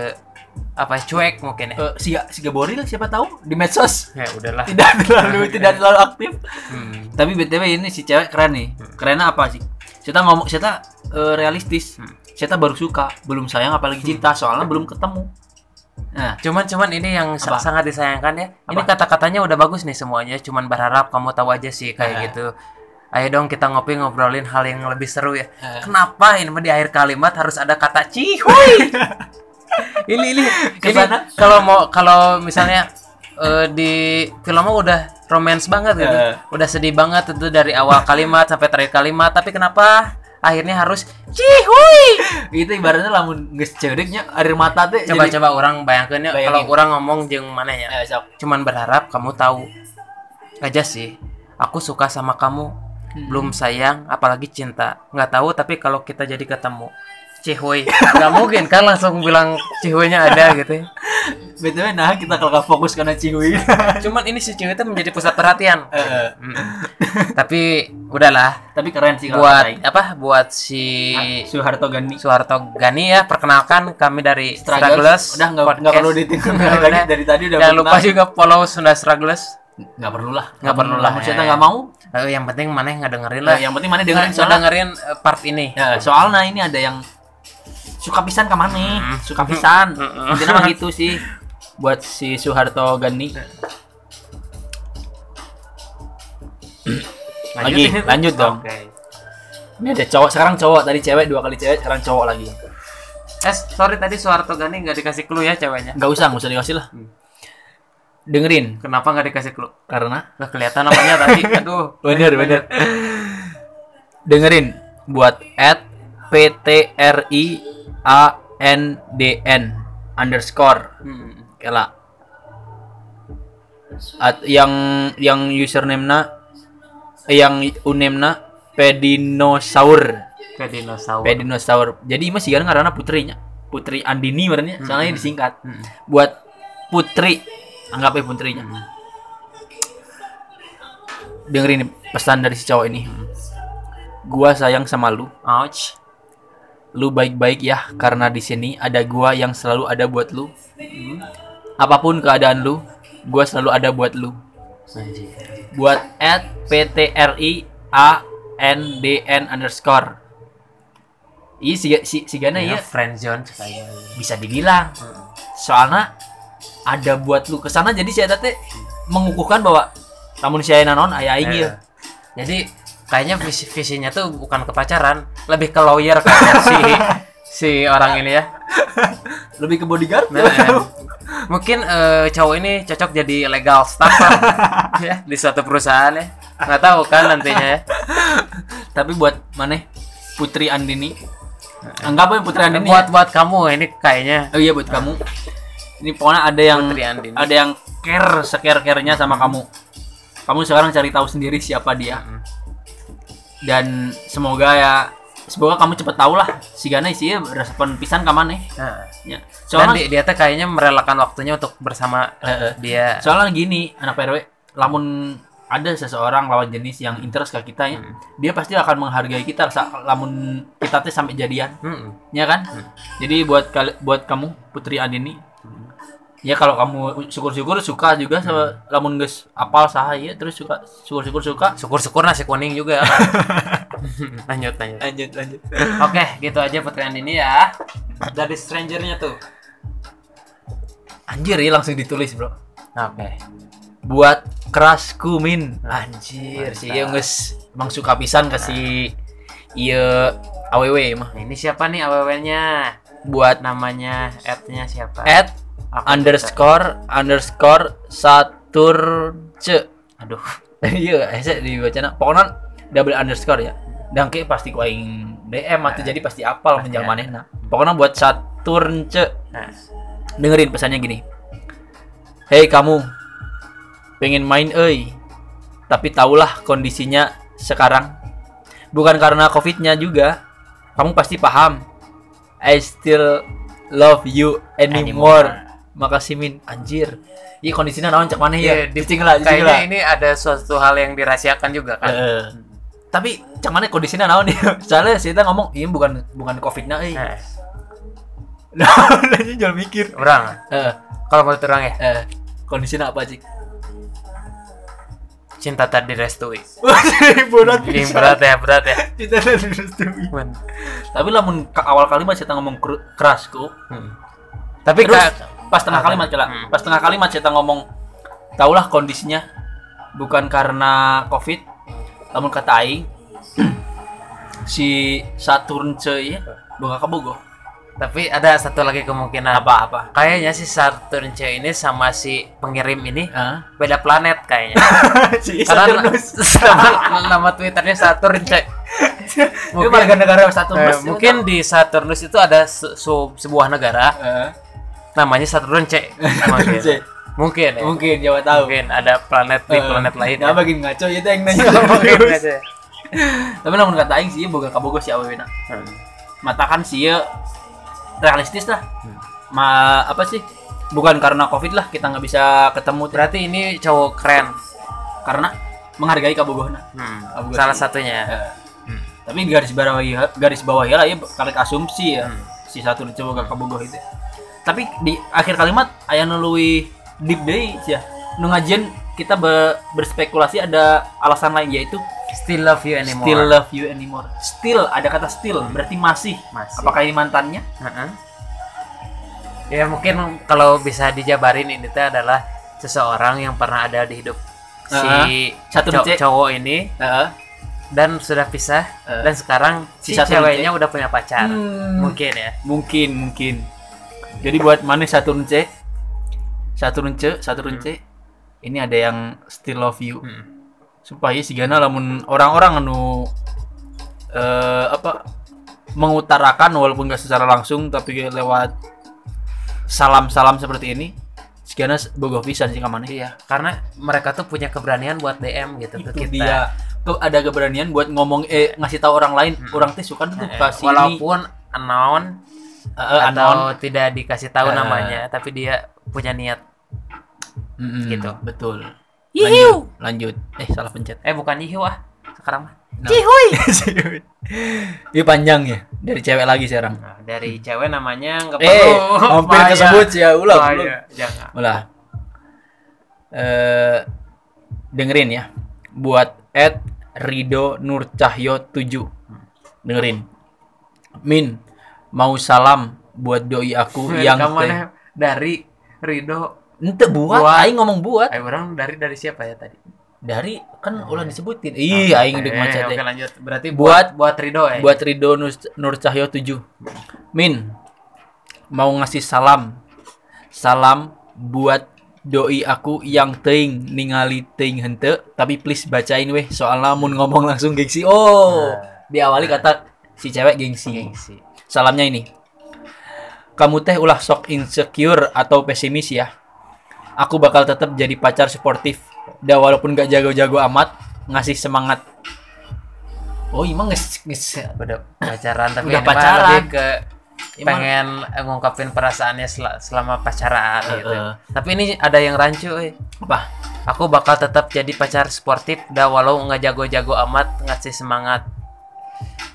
Speaker 2: apa cuek mungkin ya.
Speaker 1: Eh, si si Gaboril siapa tahu di medsos
Speaker 2: Ya udahlah.
Speaker 1: tidak terlalu tidak terlalu aktif.
Speaker 2: Hmm.
Speaker 1: Tapi BTW ini si cewek keren nih. Kerennya apa sih? Kita ngomong eh, kita
Speaker 2: Hmm.
Speaker 1: realistis. Kita baru suka, belum sayang apalagi cinta, soalnya belum ketemu. Nah,
Speaker 2: Cuman cuman ini yang sa-
Speaker 1: Apa?
Speaker 2: sangat disayangkan ya. Ini
Speaker 1: Apa?
Speaker 2: kata-katanya udah bagus nih semuanya, cuman berharap kamu tahu aja sih kayak
Speaker 1: Eh.
Speaker 2: gitu. Ayo dong kita ngopi ngobrolin hal yang lebih seru ya.
Speaker 1: Eh.
Speaker 2: Kenapa ini mah di akhir kalimat harus ada kata cihuy? ini ini ini
Speaker 1: Kesana.
Speaker 2: kalau mau kalau misalnya eh, di filmnya udah romance banget gitu.
Speaker 1: Eh.
Speaker 2: Udah sedih banget itu dari awal kalimat sampai terakhir kalimat, tapi kenapa akhirnya harus cihuy?
Speaker 1: itu ibaratnya lamun geus ceuriknya air mata teh
Speaker 2: coba
Speaker 1: jadi-
Speaker 2: coba orang bayangkan ya,
Speaker 1: Bayangin.
Speaker 2: kalau orang ngomong jeung mana ya
Speaker 1: Eh, sok.
Speaker 2: cuman berharap kamu tahu aja sih aku suka sama kamu belum sayang apalagi cinta nggak tahu tapi kalau kita jadi ketemu cihuy nggak mungkin kan langsung bilang cihuy-nya ada gitu ya.
Speaker 1: btw nah kita kalau fokus karena cihui
Speaker 2: cuman ini si cihuy itu menjadi pusat perhatian
Speaker 1: Heeh.
Speaker 2: Mm-mm. tapi udahlah
Speaker 1: tapi keren sih kalau
Speaker 2: buat
Speaker 1: kata Aing.
Speaker 2: apa buat si
Speaker 1: Soeharto Gani
Speaker 2: Suharto Gani ya perkenalkan kami dari
Speaker 1: Struggles.
Speaker 2: Strugglers
Speaker 1: udah nggak nggak
Speaker 2: Podcast.
Speaker 1: perlu ditinggal lagi
Speaker 2: Udah.
Speaker 1: dari tadi udah
Speaker 2: Jangan lupa
Speaker 1: berenang.
Speaker 2: juga follow Sunda Strugglers.
Speaker 1: nggak perlu lah
Speaker 2: Nggak perlu lah,
Speaker 1: maksudnya
Speaker 2: ya,
Speaker 1: nggak
Speaker 2: ya.
Speaker 1: mau
Speaker 2: Eh, yang penting mana yang nggak dengerin lah.
Speaker 1: nah, yang penting mana
Speaker 2: dengerin,
Speaker 1: dengerin soalnya
Speaker 2: dengerin eh, part ini.
Speaker 1: ya, soalnya ini ada yang suka pisan ke mana suka pisan
Speaker 2: Hmm.
Speaker 1: intinya mah gitu sih buat si Soeharto Gani Lagi,
Speaker 2: Lanjutin.
Speaker 1: lanjut dong.
Speaker 2: Oke.
Speaker 1: ini ada cowok sekarang cowok tadi cewek dua kali cewek sekarang cowok lagi
Speaker 2: Eh, sorry tadi Suharto Gani nggak dikasih clue ya ceweknya.
Speaker 1: nggak usah nggak usah dikasih lah dengerin
Speaker 2: Kenapa nggak dikasih clue?
Speaker 1: karena
Speaker 2: Nggak kelihatan namanya tadi. Aduh.
Speaker 1: bener bener dengerin buat at ptri a n d n underscore
Speaker 2: Hmm.
Speaker 1: Kela. At, yang yang username na yang uname na pedinosaur
Speaker 2: Kayak dinosaurus.
Speaker 1: pedinosaur jadi ini sih kan karena putrinya putri andini berarti soalnya disingkat
Speaker 2: Hmm.
Speaker 1: buat putri anggap aja putrinya dengerin nih pesan dari si cowok ini
Speaker 2: Hmm.
Speaker 1: gua sayang sama lu
Speaker 2: Ouch.
Speaker 1: lu baik-baik ya karena di sini ada gua yang selalu ada buat lu
Speaker 2: Hmm.
Speaker 1: apapun keadaan lu gua selalu ada buat lu buat at ptri a n d n underscore iya si si si Gana iya
Speaker 2: Ya, friend zone kayak.
Speaker 1: bisa dibilang soalnya ada buat lu kesana jadi si Eta teh mengukuhkan bahwa namun si Aina non ayah aing
Speaker 2: Iya.
Speaker 1: ieu.
Speaker 2: Jadi kayaknya visi visinya tuh bukan ke pacaran, lebih ke lawyer kayaknya si si orang ini ya.
Speaker 1: lebih ke bodyguard
Speaker 2: Nah, eh, mungkin eh, cowok ini cocok jadi legal staff lah, ya, di suatu perusahaan ya. Nggak tahu kan nantinya ya.
Speaker 1: tapi buat mana Putri Andini anggap aja Putri Andini
Speaker 2: Nah, buat buat kamu ini kayaknya
Speaker 1: Oh iya buat kamu. Ini pokoknya ada yang
Speaker 2: Putri Andini.
Speaker 1: ada yang care seker-kernya sama kamu. Kamu sekarang cari tahu sendiri siapa dia.
Speaker 2: Mm.
Speaker 1: Dan semoga ya semoga kamu cepet tahu lah si Gana sih respon pisan ka mana
Speaker 2: Nah,
Speaker 1: ya.
Speaker 2: dan
Speaker 1: Soalnya
Speaker 2: di- dia tuh kayaknya merelakan waktunya untuk bersama
Speaker 1: Eh, eh.
Speaker 2: dia.
Speaker 1: soalnya gini anak PRW lamun ada seseorang lawan jenis yang interest ke kita ya, dia pasti akan menghargai kita sa- lamun kita tuh sampai jadian.
Speaker 2: Mm-mm.
Speaker 1: ya kan? Jadi buat kal- buat kamu Putri Andini ya kalau kamu syukur-syukur suka juga sama lamun geus apal saha ya terus suka syukur-syukur suka
Speaker 2: Syukur-syukur nasi kuning juga. lanjut lanjut.
Speaker 1: lanjut lanjut
Speaker 2: Oke, gitu aja Putri Andini ya. Dari strangernya tuh.
Speaker 1: anjir ya langsung ditulis bro
Speaker 2: Oke.
Speaker 1: buat keras kumin anjir
Speaker 2: Mantap.
Speaker 1: si ieu geus emang suka pisan ke si ieu aww mah
Speaker 2: Nah, ini siapa nih AWW-nya?
Speaker 1: buat
Speaker 2: Namanya, ad-nya siapa?
Speaker 1: at
Speaker 2: Aku
Speaker 1: underscore underscore saturce
Speaker 2: Aduh.
Speaker 1: iya ese dibacana pokoknya double underscore ya dangke pasti ku aing DM atau jadi pasti apal menjal manehna pokoknya buat Saturnce
Speaker 2: Nah.
Speaker 1: dengerin pesannya gini hei kamu pengen main euy tapi tahulah kondisinya sekarang bukan karena covidnya juga kamu pasti paham I still love you anymore,
Speaker 2: Anymore.
Speaker 1: makasih min anjir iya kondisinya naon cek mana ya
Speaker 2: Iya, di-
Speaker 1: cicing lah cicing
Speaker 2: Kayaknya
Speaker 1: lah
Speaker 2: ini ada suatu hal yang dirahasiakan juga kan.
Speaker 1: Heeh. tapi cak mana kondisinya naon ya soalnya si Eta ngomong ini bukan bukan covidnya euy
Speaker 2: Nah,
Speaker 1: naon aja jual mikir
Speaker 2: orang.
Speaker 1: eh
Speaker 2: Kalau menurut orang ya,
Speaker 1: eh kondisinya apa cik
Speaker 2: cinta tadi direstui.
Speaker 1: Wah, berat
Speaker 2: Ini berat ya, berat ya.
Speaker 1: Cinta dan direstui. Tapi lamun ka- awal kalimat saya ngomong keras kok.
Speaker 2: Hmm. Tapi Hmm.
Speaker 1: Terus?
Speaker 2: ka-
Speaker 1: pas tengah kalimat kira pas tengah kalimat kita ngomong tahulah kondisinya bukan karena covid namun kata aing si Saturn ce ya boga kebogo
Speaker 2: Tapi ada satu lagi kemungkinan.
Speaker 1: apa apa
Speaker 2: Kayaknya si Saturn C ini sama si pengirim ini
Speaker 1: Hah?
Speaker 2: beda planet kayaknya.
Speaker 1: si
Speaker 2: Karena
Speaker 1: Saturnus
Speaker 2: nama, nama Twitternya Saturn C.
Speaker 1: itu warga negara Saturnus
Speaker 2: Eh, mungkin di Saturnus itu ada se- se- sebuah negara
Speaker 1: Eh,
Speaker 2: namanya Saturn C. Mungkin.
Speaker 1: C.
Speaker 2: Mungkin. ya.
Speaker 1: mungkin jawa tahu
Speaker 2: Mungkin ada planet di
Speaker 1: Eh,
Speaker 2: planet lain. ya.
Speaker 1: nah bagian ngaco itu yang nanya
Speaker 2: Mungkin aja.
Speaker 1: tapi namun kata aing sih boga kabogo si awewena
Speaker 2: Hmm.
Speaker 1: mata kan sih ya realistis lah ma apa sih bukan karena covid lah kita nggak bisa ketemu teh.
Speaker 2: Berarti ini cowok keren. Hmm,
Speaker 1: karena menghargai kabogohna Abu
Speaker 2: Salah
Speaker 1: Ghasani.
Speaker 2: satunya.
Speaker 1: Hmm, Eh,
Speaker 2: Hmm.
Speaker 1: tapi garis bawah garis bawah ya lah ya karek asumsi ya
Speaker 2: Hmm.
Speaker 1: si satu dicoba ke kabogoh itu tapi di akhir kalimat aya nu leuwih deep deui sih ya nu ngajian kita be- berspekulasi ada alasan lain yaitu
Speaker 2: Still love you anymore.
Speaker 1: still love you anymore still ada kata still berarti masih
Speaker 2: Masih.
Speaker 1: apakah ini mantannya
Speaker 2: Heeh. Ya mungkin kalau bisa dijabarin ini teh adalah seseorang yang pernah ada di hidup si
Speaker 1: Heeh. Satu
Speaker 2: cow-
Speaker 1: C.
Speaker 2: cowok ini
Speaker 1: Heeh.
Speaker 2: dan sudah pisah
Speaker 1: Heeh.
Speaker 2: dan sekarang
Speaker 1: Si
Speaker 2: si,
Speaker 1: satu
Speaker 2: ceweknya udah punya pacar.
Speaker 1: Hmm.
Speaker 2: Mungkin ya.
Speaker 1: mungkin mungkin jadi buat mana Saturn C Saturn C Saturn C ini ada yang still love you
Speaker 2: Hmm.
Speaker 1: supaya si Gana lamun orang-orang anu eh apa mengutarakan walaupun gak secara langsung tapi lewat salam-salam seperti ini si Gana bogoh pisan sih kamane
Speaker 2: Iya, karena mereka tuh punya keberanian buat DM gitu
Speaker 1: itu
Speaker 2: ke kita.
Speaker 1: dia Ke- ada keberanian buat ngomong eh ngasih tahu orang lain orang teh suka tuh
Speaker 2: Eh,
Speaker 1: kasih
Speaker 2: walaupun unknown
Speaker 1: ini, eh, eh,
Speaker 2: atau
Speaker 1: anon.
Speaker 2: tidak dikasih tahu
Speaker 1: Eh.
Speaker 2: namanya, tapi dia punya niat.
Speaker 1: Mm-mm,
Speaker 2: gitu.
Speaker 1: betul
Speaker 2: Hihiu.
Speaker 1: lanjut, lanjut eh salah pencet
Speaker 2: Eh bukan Yihu ah, sekarang mah.
Speaker 1: Nah. Cihuy. Ini panjang ya dari cewek lagi sekarang.
Speaker 2: Nah, dari cewek namanya nggak
Speaker 1: Eh,
Speaker 2: perlu.
Speaker 1: hampir
Speaker 2: Bahaya.
Speaker 1: kesebut sih ya ulang.
Speaker 2: Bahaya.
Speaker 1: ulang.
Speaker 2: Jangan.
Speaker 1: Ulah. Eh dengerin ya buat Ed Rido Nur Cahyo 7. Dengerin. Min mau salam buat doi aku
Speaker 2: Dari
Speaker 1: yang
Speaker 2: mana?
Speaker 1: teh.
Speaker 2: Dari Rido.
Speaker 1: Ente buat,
Speaker 2: ya. Buat.
Speaker 1: aing ngomong buat.
Speaker 2: Eh orang dari dari siapa ya tadi?
Speaker 1: Dari kan ulah disebutin. Ih, aing dek
Speaker 2: Eh,
Speaker 1: maca teh.
Speaker 2: Oke lanjut. Berarti
Speaker 1: Buat
Speaker 2: buat buat Rido ya.
Speaker 1: buat Rido Nus- Nur Cahyo 7 Min mau ngasih salam salam buat doi aku yang teing ningali teing hente tapi please bacain weh soalnya mun ngomong langsung gengsi oh diawali kata si cewek gengsi
Speaker 2: Gengsi.
Speaker 1: salamnya ini kamu teh ulah sok insecure atau pesimis ya aku bakal tetap jadi pacar suportif dah walaupun gak jago-jago amat ngasih semangat oh emang nges, nges
Speaker 2: Udah pacaran tapi
Speaker 1: Udah
Speaker 2: ini mah
Speaker 1: pacaran.
Speaker 2: lebih ke
Speaker 1: Emang-
Speaker 2: pengen ngungkapin perasaannya sel- selama pacaran
Speaker 1: Eh,
Speaker 2: gitu.
Speaker 1: eh.
Speaker 2: Tapi ini ada yang rancu, eh.
Speaker 1: apa
Speaker 2: Aku bakal tetap jadi pacar sportif dah walau nggak jago-jago amat ngasih semangat.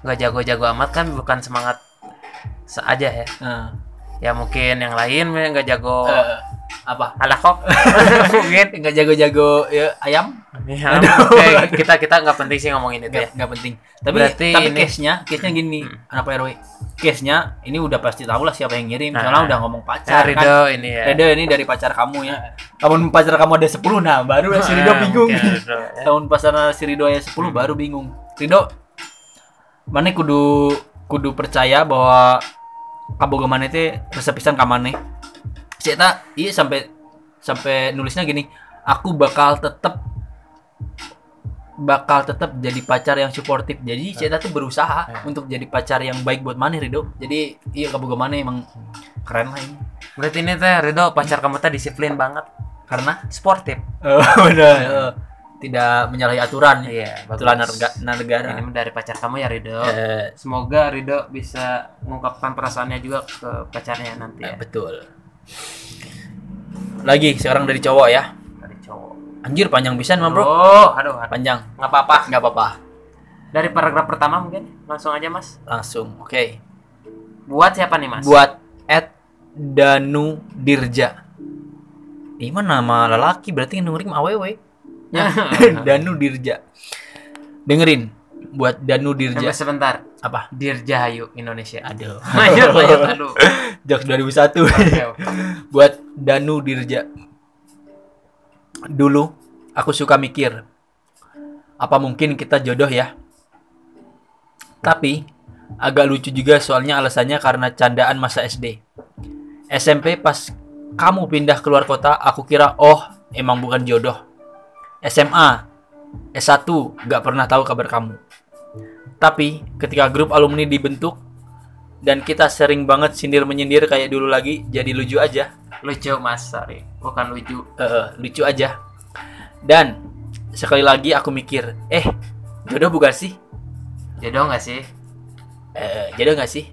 Speaker 2: Nggak jago-jago amat kan bukan semangat saja ya.
Speaker 1: Eh,
Speaker 2: Ya mungkin yang lain mungkin nggak jago
Speaker 1: eh, apa
Speaker 2: ala kok. mungkin.
Speaker 1: nggak jago-jago ya, ayam
Speaker 2: Ya, oke, kita kita nggak penting sih ngomongin itu ya.
Speaker 1: nggak nggak penting tapi
Speaker 2: Berarti
Speaker 1: tapi
Speaker 2: ini-
Speaker 1: case nya case nya gini anak Pak rw case nya ini udah pasti tahu lah siapa yang ngirim
Speaker 2: Nah.
Speaker 1: soalnya udah ngomong
Speaker 2: Ya,
Speaker 1: pacar kan
Speaker 2: Rido ini ya.
Speaker 1: Rido ini dari pacar kamu ya. Tahun pacar kamu ada 10 nah baru si Rido
Speaker 2: Ah,
Speaker 1: bingung.
Speaker 2: mungkin Rido, ya.
Speaker 1: Tahun pacar si Rido ya 10 baru bingung. Rido mana kudu kudu percaya bahwa kaboga mana teh resepisan ka maneh. Si eta iya sampai sampai nulisnya gini, aku bakal tetap bakal tetap jadi pacar yang suportif. Jadi si Eta tuh berusaha untuk jadi pacar yang baik buat maneh Rido. Jadi iya kaboga maneh emang keren lah ini.
Speaker 2: Berarti ini teh Rido pacar kamu teh disiplin banget,
Speaker 1: Karena
Speaker 2: sportif.
Speaker 1: Oh, benar. eh, tidak menyalahi aturan ya.
Speaker 2: Iya,
Speaker 1: Aturan
Speaker 2: bagus.
Speaker 1: narga- negara.
Speaker 2: Ini dari pacar kamu ya Rido.
Speaker 1: Eh,
Speaker 2: Semoga Rido bisa mengungkapkan perasaannya juga ke pacarnya nanti
Speaker 1: Nah,
Speaker 2: ya.
Speaker 1: betul. Lagi sekarang dari cowok ya.
Speaker 2: Dari cowok.
Speaker 1: Anjir panjang pisan mah, Bro.
Speaker 2: Oh, aduh, aduh.
Speaker 1: Panjang.
Speaker 2: Nggak apa-apa.
Speaker 1: Nggak apa-apa.
Speaker 2: Dari paragraf pertama mungkin langsung aja Mas.
Speaker 1: Langsung. Oke.
Speaker 2: Buat siapa nih Mas?
Speaker 1: Buat Ed Danu Dirja. Ini mah nama lelaki berarti yang dengerin mah awewe.
Speaker 2: Ya.
Speaker 1: Danu Dirja. Dengerin. buat Danu Dirja
Speaker 2: Sampai sebentar.
Speaker 1: apa
Speaker 2: Dirjahayu Indonesia.
Speaker 1: aduh
Speaker 2: Lanjut, lanjut, aduh.
Speaker 1: Jok 2001
Speaker 2: Oke, oke.
Speaker 1: buat Danu Dirja dulu aku suka mikir apa mungkin kita jodoh ya tapi agak lucu juga soalnya alasannya karena candaan masa SD SMP pas kamu pindah keluar kota aku kira oh emang bukan jodoh SMA S1 gak pernah tahu kabar kamu tapi ketika grup alumni dibentuk dan kita sering banget sindir menyindir kayak dulu lagi jadi lucu aja
Speaker 2: Lucu Mas, sorry. Bukan lucu.
Speaker 1: eh, lucu aja. Dan sekali lagi aku mikir, eh jodoh bukan sih?
Speaker 2: Jodoh nggak sih?
Speaker 1: Eh, jodoh nggak sih?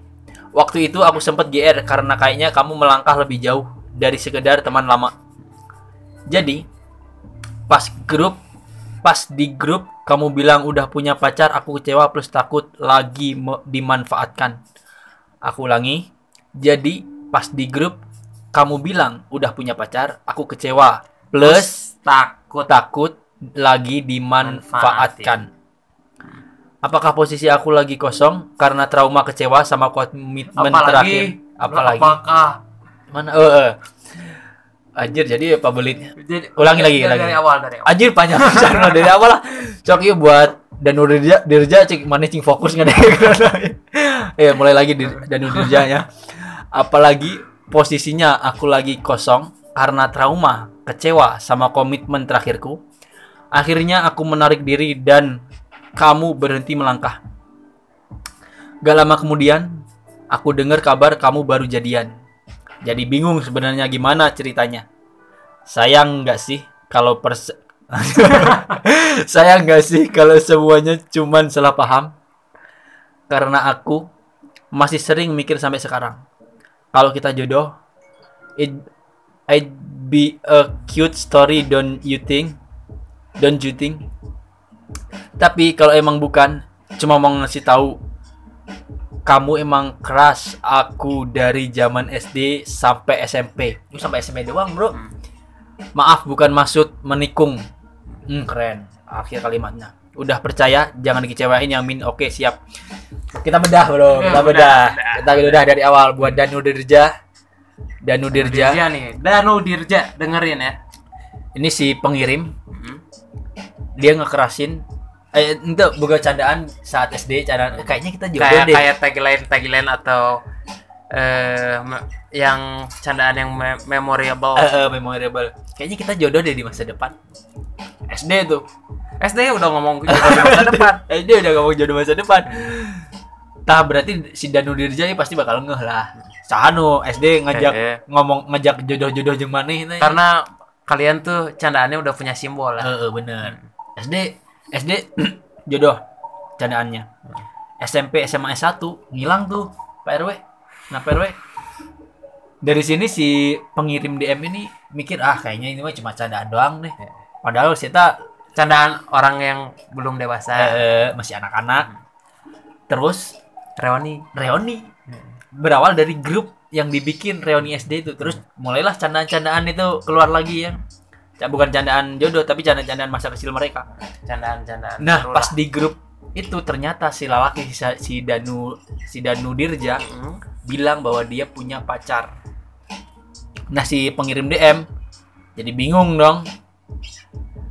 Speaker 1: Waktu itu aku sempat GR karena kayaknya kamu melangkah lebih jauh dari sekedar teman lama. Jadi pas grup pas di grup kamu bilang udah punya pacar aku kecewa plus takut lagi me- dimanfaatkan. Aku ulangi. Jadi pas di grup kamu bilang udah punya pacar aku kecewa plus
Speaker 2: Takut.
Speaker 1: takut lagi dimanfaatkan. Apakah posisi aku lagi kosong karena trauma kecewa sama komitmen terakhir?
Speaker 2: Apalagi.
Speaker 1: Apalagi
Speaker 2: Apakah?
Speaker 1: mana? Eh, eh. Anjir jadi apa belit?
Speaker 2: Jadi,
Speaker 1: Ulangi lagi,
Speaker 2: dari,
Speaker 1: lagi.
Speaker 2: dari awal dari awal.
Speaker 1: Anjir panjang pisan lah dari awal lah. Cok ieu buat dan Dirja Dirja cek mana cing fokus nggak deh. ya mulai lagi dan Dirja ya. Apalagi posisinya aku lagi kosong karena trauma, kecewa sama komitmen terakhirku. Akhirnya aku menarik diri dan kamu berhenti melangkah. Gak lama kemudian, aku dengar kabar kamu baru jadian. Jadi bingung sebenarnya gimana ceritanya. Sayang nggak sih kalau pers Sayang nggak sih kalau semuanya cuman salah paham? Karena aku masih sering mikir sampai sekarang. Kalau kita jodoh, it I'd be a cute story, don't you think? Don't you think? Tapi kalau emang bukan, cuma mau ngasih tahu kamu emang crush aku dari zaman SD sampai SMP. Lu Oh, sampai SMP doang, Bro. Maaf bukan maksud menikung. Hmm, keren. Akhir kalimatnya. Udah percaya, jangan dikecewain yang min. Oke, siap. Kita bedah, Bro.
Speaker 2: Ya,
Speaker 1: Kita
Speaker 2: bedah,
Speaker 1: bedah.
Speaker 2: bedah.
Speaker 1: Kita bedah dari awal buat Danu Dirja. Danu Dirja.
Speaker 2: Dirja Iya nih. Danu Dirja dengerin ya.
Speaker 1: Ini si pengirim,
Speaker 2: Mhm.
Speaker 1: dia ngekerasin eh itu bukan candaan saat SD candaan eh, kayaknya kita jodoh
Speaker 2: kayak
Speaker 1: deh.
Speaker 2: kayak tagline tagline atau eh me- yang candaan yang me- memorable.
Speaker 1: Eh, eh, memorable. Kayaknya kita jodoh deh di masa depan. SD tuh.
Speaker 2: SD udah ngomong gitu di masa depan.
Speaker 1: SD udah ngomong jodoh masa depan. Tah berarti si Danu Dirja ini pasti bakal ngeh lah. Sahanu SD ngajak
Speaker 2: Eh, eh.
Speaker 1: ngomong ngajak jodoh-jodoh jeung maneh teh.
Speaker 2: Karena kalian tuh candaannya udah punya simbol lah.
Speaker 1: Eh, eh, bener. SD SD jodoh candaannya. SMP SMA S1 ngilang tuh Pak RW. Nah Pak RW dari sini si pengirim DM ini mikir ah kayaknya ini mah cuma candaan doang deh. Padahal kita
Speaker 2: Candaan orang yang belum dewasa.
Speaker 1: eh, masih anak-anak. Terus
Speaker 2: Reoni. Hmm,
Speaker 1: reuni berawal dari grup yang dibikin reuni SD itu terus mulailah candaan-candaan itu keluar lagi ya. Ca- Bukan candaan jodoh tapi candaan-candaan masa kecil mereka.
Speaker 2: Candaan-candaan.
Speaker 1: Nah,
Speaker 2: seru
Speaker 1: pas
Speaker 2: lah.
Speaker 1: di grup itu ternyata si lelaki si, si Danu si Danu Dirja
Speaker 2: Mhm.
Speaker 1: bilang bahwa dia punya pacar. Nah, si pengirim DM jadi bingung dong.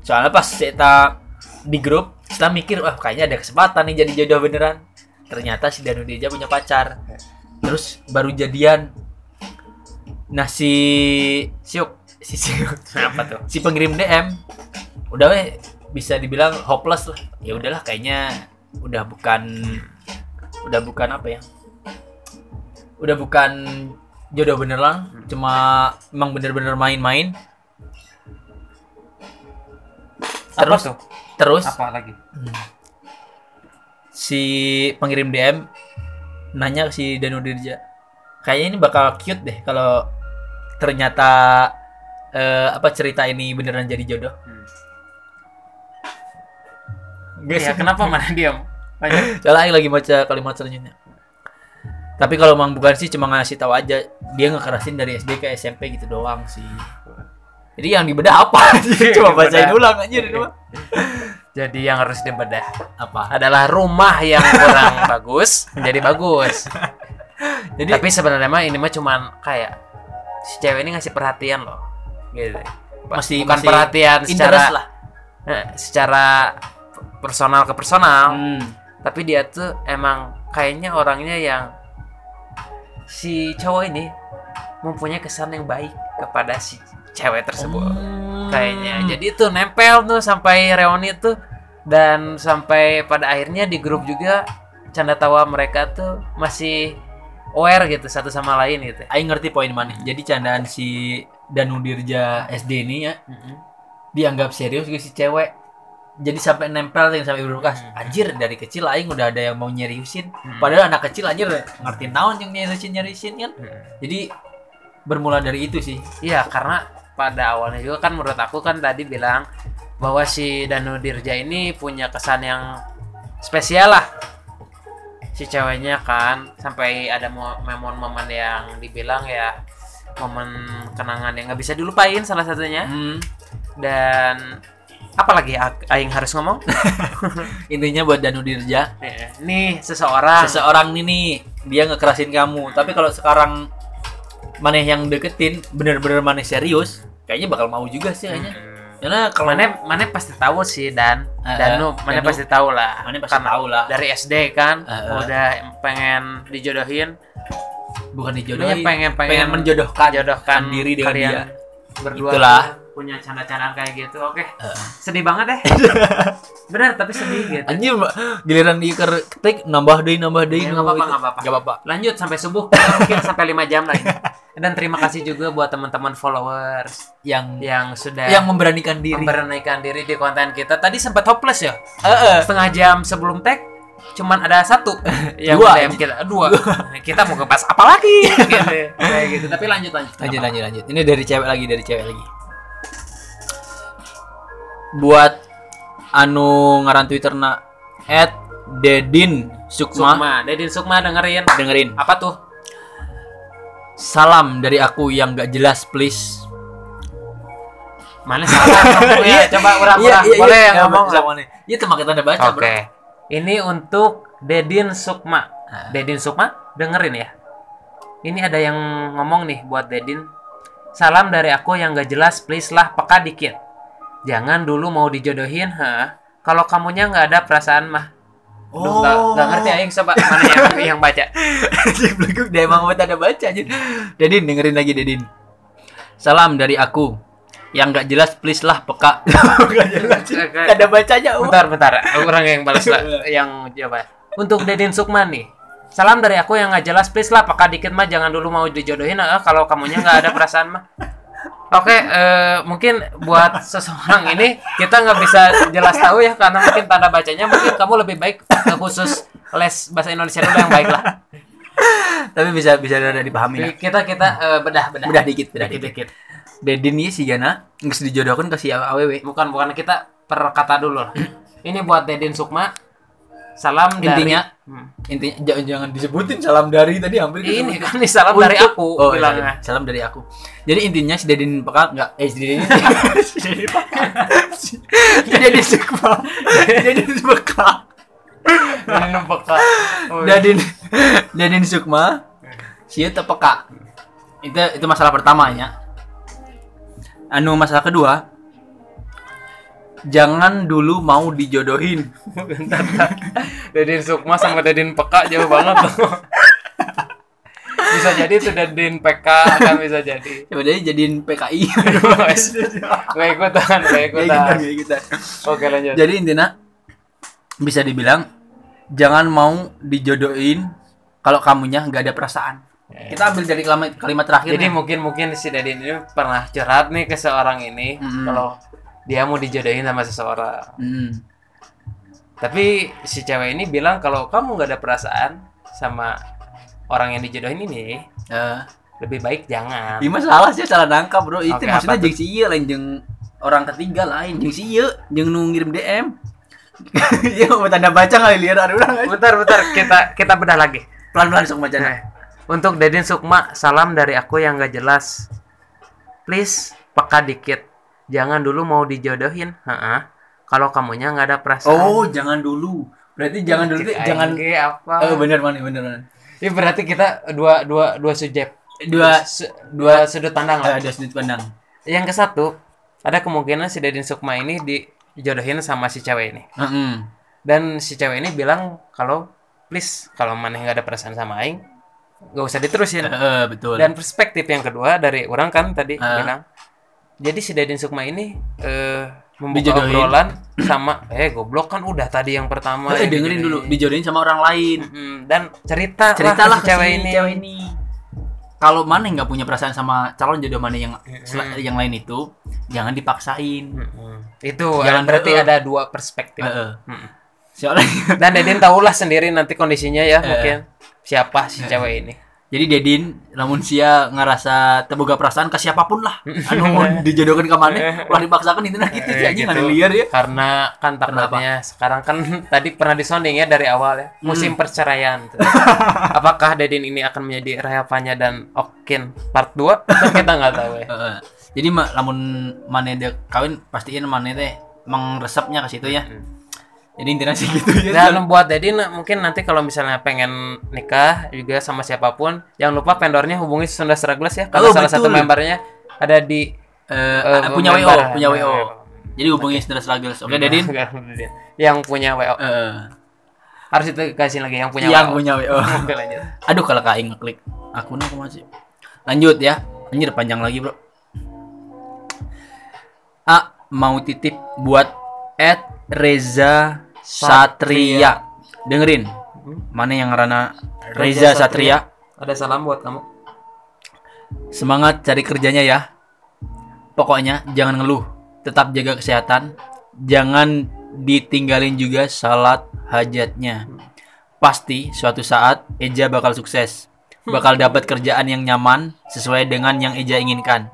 Speaker 1: Soalnya pas kita di grup, kita mikir, wah kayaknya ada kesempatan nih jadi jodoh beneran. Ternyata si Danu Dirja punya pacar. Terus baru jadian. Nah, si Siuk, si Siuk
Speaker 2: Kenapa tuh?
Speaker 1: si pengirim DM udah weh bisa dibilang hopeless lah ya udahlah kayaknya udah bukan udah bukan apa ya udah bukan jodoh beneran cuma emang bener-bener main-main
Speaker 2: Apa
Speaker 1: terus
Speaker 2: tuh?
Speaker 1: terus
Speaker 2: Apa lagi?
Speaker 1: si pengirim DM nanya ke si Danu Dirja kayaknya ini bakal cute deh kalau ternyata eh, apa cerita ini beneran jadi jodoh
Speaker 2: Hmm.
Speaker 1: Nggak
Speaker 2: Ya,
Speaker 1: sih?
Speaker 2: kenapa mana diam? Lanjut.
Speaker 1: Salah Aing Iya, lagi baca kalimat selanjutnya. Tapi kalau Mang bukan sih cuma ngasih tahu aja dia ngekerasin dari SD ke SMP gitu doang sih. Jadi yang dibedah apa? cuma
Speaker 2: Dibedah.
Speaker 1: bacain ulang anjir itu mah.
Speaker 2: Jadi yang harus dibedah
Speaker 1: apa
Speaker 2: adalah rumah yang kurang bagus jadi bagus.
Speaker 1: jadi
Speaker 2: Tapi sebenarnya mah ini mah cuman kayak si cewek ini ngasih perhatian loh. Gitu.
Speaker 1: masih
Speaker 2: Bukan
Speaker 1: masih
Speaker 2: perhatian secara
Speaker 1: interest lah
Speaker 2: eh, secara personal ke personal,
Speaker 1: Hmm.
Speaker 2: tapi dia tuh emang kayaknya orangnya yang si cowok ini mempunyai kesan yang baik kepada si cewek tersebut
Speaker 1: Hmm.
Speaker 2: kayaknya jadi itu nempel tuh sampai reuni tuh dan sampai pada akhirnya di grup juga canda tawa mereka tuh masih aware gitu satu sama lain gitu
Speaker 1: Aing ngerti poin mana jadi candaan si Danu Dirja SD ini ya dianggap serius gitu si cewek jadi sampai nempel yang sampai berbekas anjir dari kecil aing udah ada yang mau nyeriusin
Speaker 2: Hmm.
Speaker 1: padahal anak kecil anjir ngerti naon yang nyeriusin nyeriusin kan jadi bermula dari itu sih
Speaker 2: Iya karena pada awalnya juga kan menurut aku kan tadi bilang bahwa si Danu Dirja ini punya kesan yang spesial lah si ceweknya kan sampai ada mo- momen-momen yang dibilang ya momen kenangan yang nggak bisa dilupain salah satunya
Speaker 1: Hmm.
Speaker 2: dan apalagi A- Aing harus ngomong
Speaker 1: intinya buat Danu Dirja
Speaker 2: nih Iya, seseorang
Speaker 1: seseorang ini nih dia ngekerasin kamu tapi kalau sekarang maneh yang deketin bener-bener maneh serius kayaknya bakal mau juga sih kayaknya
Speaker 2: Hmm.
Speaker 1: karena kalau
Speaker 2: mana mana pasti tahu sih dan
Speaker 1: iya. Eh, eh,
Speaker 2: Danu mana
Speaker 1: Danu.
Speaker 2: pasti tahu lah
Speaker 1: maneh pasti
Speaker 2: karena
Speaker 1: tahu Eh, lah
Speaker 2: dari SD kan
Speaker 1: Heeh.
Speaker 2: udah pengen dijodohin
Speaker 1: bukan
Speaker 2: Jodohin.
Speaker 1: dijodohin
Speaker 2: pengen pengen,
Speaker 1: pengen menjodohkan
Speaker 2: jodohkan
Speaker 1: diri dengan
Speaker 2: kalian
Speaker 1: dia.
Speaker 2: berdua
Speaker 1: Itulah.
Speaker 2: tuh punya canda-candaan kayak gitu oke
Speaker 1: Heeh.
Speaker 2: sedih banget deh bener tapi sedih gitu
Speaker 1: Anjir, Mbak. giliran diiker ketik nambah deui nambah deui.
Speaker 2: Ya, nggak
Speaker 1: nambah itu.
Speaker 2: apa-apa, nggak apa-apa.
Speaker 1: Nggak apa-apa.
Speaker 2: lanjut sampai subuh mungkin sampai 5 jam lagi dan terima kasih juga buat teman-teman followers
Speaker 1: Yang
Speaker 2: yang sudah
Speaker 1: yang memberanikan diri. Eh,
Speaker 2: memberanikan diri di konten kita tadi sempat hopeless ya
Speaker 1: Heeh.
Speaker 2: setengah jam sebelum tag cuman ada satu yang
Speaker 1: Dua.
Speaker 2: DM kita Ah, dua Nah, kita mau ngebahas apa lagi gitu. Kayak gitu tapi lanjut lanjut
Speaker 1: Lanjut lanjut lanjut. Ini dari cewek lagi, dari cewek lagi. Buat anu ngaran Twitter na @dedin sukma
Speaker 2: Sukma Dedin Sukma dengerin
Speaker 1: dengerin.
Speaker 2: apa tuh
Speaker 1: Salam dari aku yang gak jelas please.
Speaker 2: mana salah
Speaker 1: Iya.
Speaker 2: ngomongnya coba orang orang boleh yang ngomong
Speaker 1: sama nih. Iya teman kita udah baca,
Speaker 2: oke Eh, ini untuk Dedin Sukma Dedin Sukma dengerin ya ini ada yang ngomong nih buat Dedin salam dari aku yang gak jelas please lah peka dikit jangan dulu mau dijodohin ha kalau kamunya nggak ada perasaan mah
Speaker 1: Bro.
Speaker 2: Duh, nggak- nggak ngerti
Speaker 1: Oh.
Speaker 2: aing coba mana yang yang baca
Speaker 1: Anjing belakang dia emang buat ada baca anjing. Dedin dengerin lagi Dedin. Salam dari aku. Yang nggak jelas please lah peka. Enggak
Speaker 2: Oke.
Speaker 1: ada bacanya. Um.
Speaker 2: Bentar, bentar. Orang yang balas lah, yang coba. Untuk Dedin Sukman nih. Salam dari aku yang nggak jelas, please lah. Pakai dikit mah, jangan dulu mau dijodohin. ah, kalau kamunya nggak ada perasaan mah. Oke, eh, mungkin buat seseorang ini kita nggak bisa jelas tahu ya karena mungkin tanda bacanya mungkin kamu lebih baik eh, khusus les bahasa Indonesia dulu yang baik lah.
Speaker 1: Tapi bisa bisa ada dipahami ya. lah.
Speaker 2: Kita kita eh, bedah bedah.
Speaker 1: Iya. Bedah dikit, bedah
Speaker 2: dikit,
Speaker 1: dikit.
Speaker 2: dikit.
Speaker 1: Dedin ini sih Gana nggak dijodohkan ke si AWW.
Speaker 2: Bukan bukan kita perkata dulu. lah. Ini buat Dedin Sukma. Salam dari-
Speaker 1: Intinya-
Speaker 2: Hmm.
Speaker 1: Intinya jangan, jangan disebutin salam dari tadi hampir
Speaker 2: ini
Speaker 1: ini
Speaker 2: kan nih salam dari aku
Speaker 1: Oh, iya,
Speaker 2: bilangnya.
Speaker 1: salam dari aku. Jadi intinya si Dedin peka nggak eh si Dedin si Dedin peka. Si- si Dedin suka. Si Dedin peka.
Speaker 2: Ini nempeka. Oh, iya.
Speaker 1: Dadin Dadin Sukma Sia teu peka Itu itu masalah pertamanya Anu masalah kedua Jangan dulu mau dijodohin
Speaker 2: Dadin Sukma sama Dadin Peka jauh banget loh. bisa jadi itu Dadin PK akan bisa jadi.
Speaker 1: Sebenarnya Ya jadiin PKI
Speaker 2: Gak ikutan, gak
Speaker 1: Kayak kita,
Speaker 2: ikutan.
Speaker 1: kayak gitu. kita.
Speaker 2: Oke lanjut.
Speaker 1: Jadi intinya Bisa dibilang Jangan mau dijodohin Kalau kamunya nggak ada perasaan Kita ambil dari kalimat, kalimat terakhir
Speaker 2: Jadi
Speaker 1: nih.
Speaker 2: mungkin mungkin si Dadin ini pernah curhat nih ke seorang ini
Speaker 1: Mm-mm.
Speaker 2: kalau dia mau dijodohin sama seseorang.
Speaker 1: Mm.
Speaker 2: Tapi si cewek ini bilang kalau kamu nggak ada perasaan sama orang yang dijodohin ini,
Speaker 1: Eh,
Speaker 2: lebih baik jangan.
Speaker 1: Iya masalah sih salah nangkap bro. Itu
Speaker 2: Oke,
Speaker 1: maksudnya
Speaker 2: apa
Speaker 1: jeung si ieu lain jeung orang ketiga lain jeung si ieu jeung nu ngirim DM. Iya mau tanda baca kali liar ada orang aja.
Speaker 2: Bentar, bentar. Kita kita bedah lagi.
Speaker 1: Pelan-pelan sok baca.
Speaker 2: Nah, untuk Dedin Sukma, salam dari aku yang gak jelas. Please, peka dikit. Jangan dulu mau dijodohin. Heeh. kalau kamunya nggak ada perasaan
Speaker 1: Oh, jangan dulu. Berarti jangan dulu, tuh, jangan.
Speaker 2: Kayak apa
Speaker 1: Eh, bener man, bener man.
Speaker 2: ya berarti kita dua dua dua subjek
Speaker 1: Dua,
Speaker 2: Se- dua sudut pandang lah
Speaker 1: eh, dua sudut pandang.
Speaker 2: yang ke satu ada kemungkinan si Dedin Sukma ini dijodohin sama si cewek ini
Speaker 1: Heeh.
Speaker 2: dan si cewek ini bilang kalau please kalau maneh nggak ada perasaan sama aing nggak usah diterusin
Speaker 1: Heeh, Eh, betul.
Speaker 2: dan perspektif yang kedua dari orang kan tadi
Speaker 1: Ah.
Speaker 2: bilang jadi si Dedin Sukma ini eh membuka
Speaker 1: Dijodohin.
Speaker 2: obrolan sama eh goblok kan udah tadi yang pertama
Speaker 1: Eh,
Speaker 2: yang
Speaker 1: dengerin
Speaker 2: dijodohin.
Speaker 1: dulu, dijodohin sama orang lain.
Speaker 2: Mm, dan cerita
Speaker 1: Ceritalah
Speaker 2: ke si cewek ini
Speaker 1: cewek ini. Kalau mana nggak punya perasaan sama calon jodoh mana yang sel- yang lain itu, jangan dipaksain.
Speaker 2: Mm-mm. itu
Speaker 1: Jangan
Speaker 2: eh, berarti
Speaker 1: dulu. Eh.
Speaker 2: ada dua perspektif
Speaker 1: Heeh.
Speaker 2: Mm-mm.
Speaker 1: Soalnya
Speaker 2: dan Dedin tahulah sendiri nanti kondisinya
Speaker 1: Eh.
Speaker 2: ya mungkin siapa si cewek ini
Speaker 1: jadi Dedin, lamun sia ngerasa terbuka perasaan ke siapapun lah. Anu mau dijodohkan ke mana, ulah dipaksakan itu nah gitu sih
Speaker 2: Eh,
Speaker 1: anjing
Speaker 2: gitu.
Speaker 1: ada liar ya.
Speaker 2: karena kan takutnya sekarang kan tadi pernah disonding ya dari awal ya
Speaker 1: Hmm.
Speaker 2: musim perceraian tuh. apakah Dedin ini akan menjadi Rehapanya dan Okin part 2 kita nggak tahu ya
Speaker 1: Heeh. Eh, Jadi ma- lamun mana dia kawin pastiin mana teh mengresepnya ke situ ya.
Speaker 2: Hmm.
Speaker 1: Jadi intinya sih gitu ya.
Speaker 2: dan buat Dedin mungkin nanti kalau misalnya pengen nikah juga sama siapapun jangan lupa vendornya hubungi Sunda Struggles ya
Speaker 1: Oh,
Speaker 2: kalau salah satu
Speaker 1: betul.
Speaker 2: membernya ada di
Speaker 1: Eh,
Speaker 2: Eh,
Speaker 1: punya
Speaker 2: member,
Speaker 1: WO, punya
Speaker 2: member.
Speaker 1: WO. Jadi hubungi Sundra Struggles. Oke, Dedin.
Speaker 2: yang punya WO
Speaker 1: Eh,
Speaker 2: harus itu kasih lagi yang punya
Speaker 1: yang
Speaker 2: WO
Speaker 1: punya WO.
Speaker 2: Oke, lanjut.
Speaker 1: Aduh kalau kain ngeklik akunnya aku masih. Lanjut ya. Anjir panjang lagi, Bro. A mau titip buat at Reza Satria. Dengerin. Mana yang ngarana Reza
Speaker 2: Hmm? Reza Satria.
Speaker 1: Satria?
Speaker 2: ada salam buat kamu
Speaker 1: Semangat cari kerjanya ya. Pokoknya jangan ngeluh, tetap jaga kesehatan, jangan ditinggalin juga salat hajatnya. Pasti suatu saat Eja bakal sukses, bakal dapat kerjaan yang nyaman sesuai dengan yang Eja inginkan.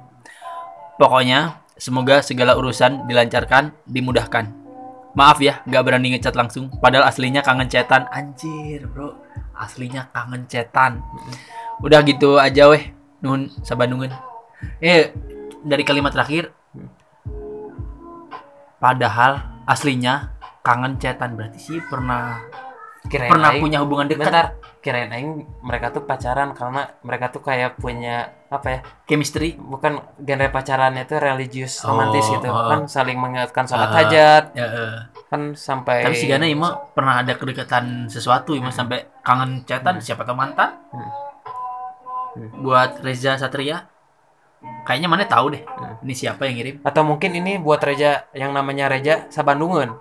Speaker 1: Pokoknya semoga segala urusan dilancarkan, dimudahkan. Maaf ya, nggak berani ngechat langsung. Padahal aslinya kangen cetan. Anjir, bro. Aslinya kangen cetan. Udah gitu aja weh. Nuhun sabandungan. Eh, dari kalimat terakhir. Padahal aslinya kangen cetan berarti sih pernah
Speaker 2: kirain
Speaker 1: pernah
Speaker 2: aing-
Speaker 1: punya hubungan dekat.
Speaker 2: Bentar, kirain aing mereka tuh pacaran karena mereka tuh kayak punya apa ya?
Speaker 1: Chemistry.
Speaker 2: Bukan genre pacarannya tuh religius
Speaker 1: Oh,
Speaker 2: romantis gitu.
Speaker 1: oh.
Speaker 2: Kan saling mengingatkan sholat
Speaker 1: Ah.
Speaker 2: hajat,
Speaker 1: Ya, eh.
Speaker 2: kan sampai
Speaker 1: Tapi si Gana ima pernah ada kedekatan sesuatu ima sampai kangen cetan siapa tahu mantan.
Speaker 2: Hmm. Hmm.
Speaker 1: Buat Reza Satria. Kayaknya mana tahu deh.
Speaker 2: Hmm.
Speaker 1: Ini siapa yang ngirim?
Speaker 2: atau mungkin ini buat Reja yang namanya Reja Sabandungan.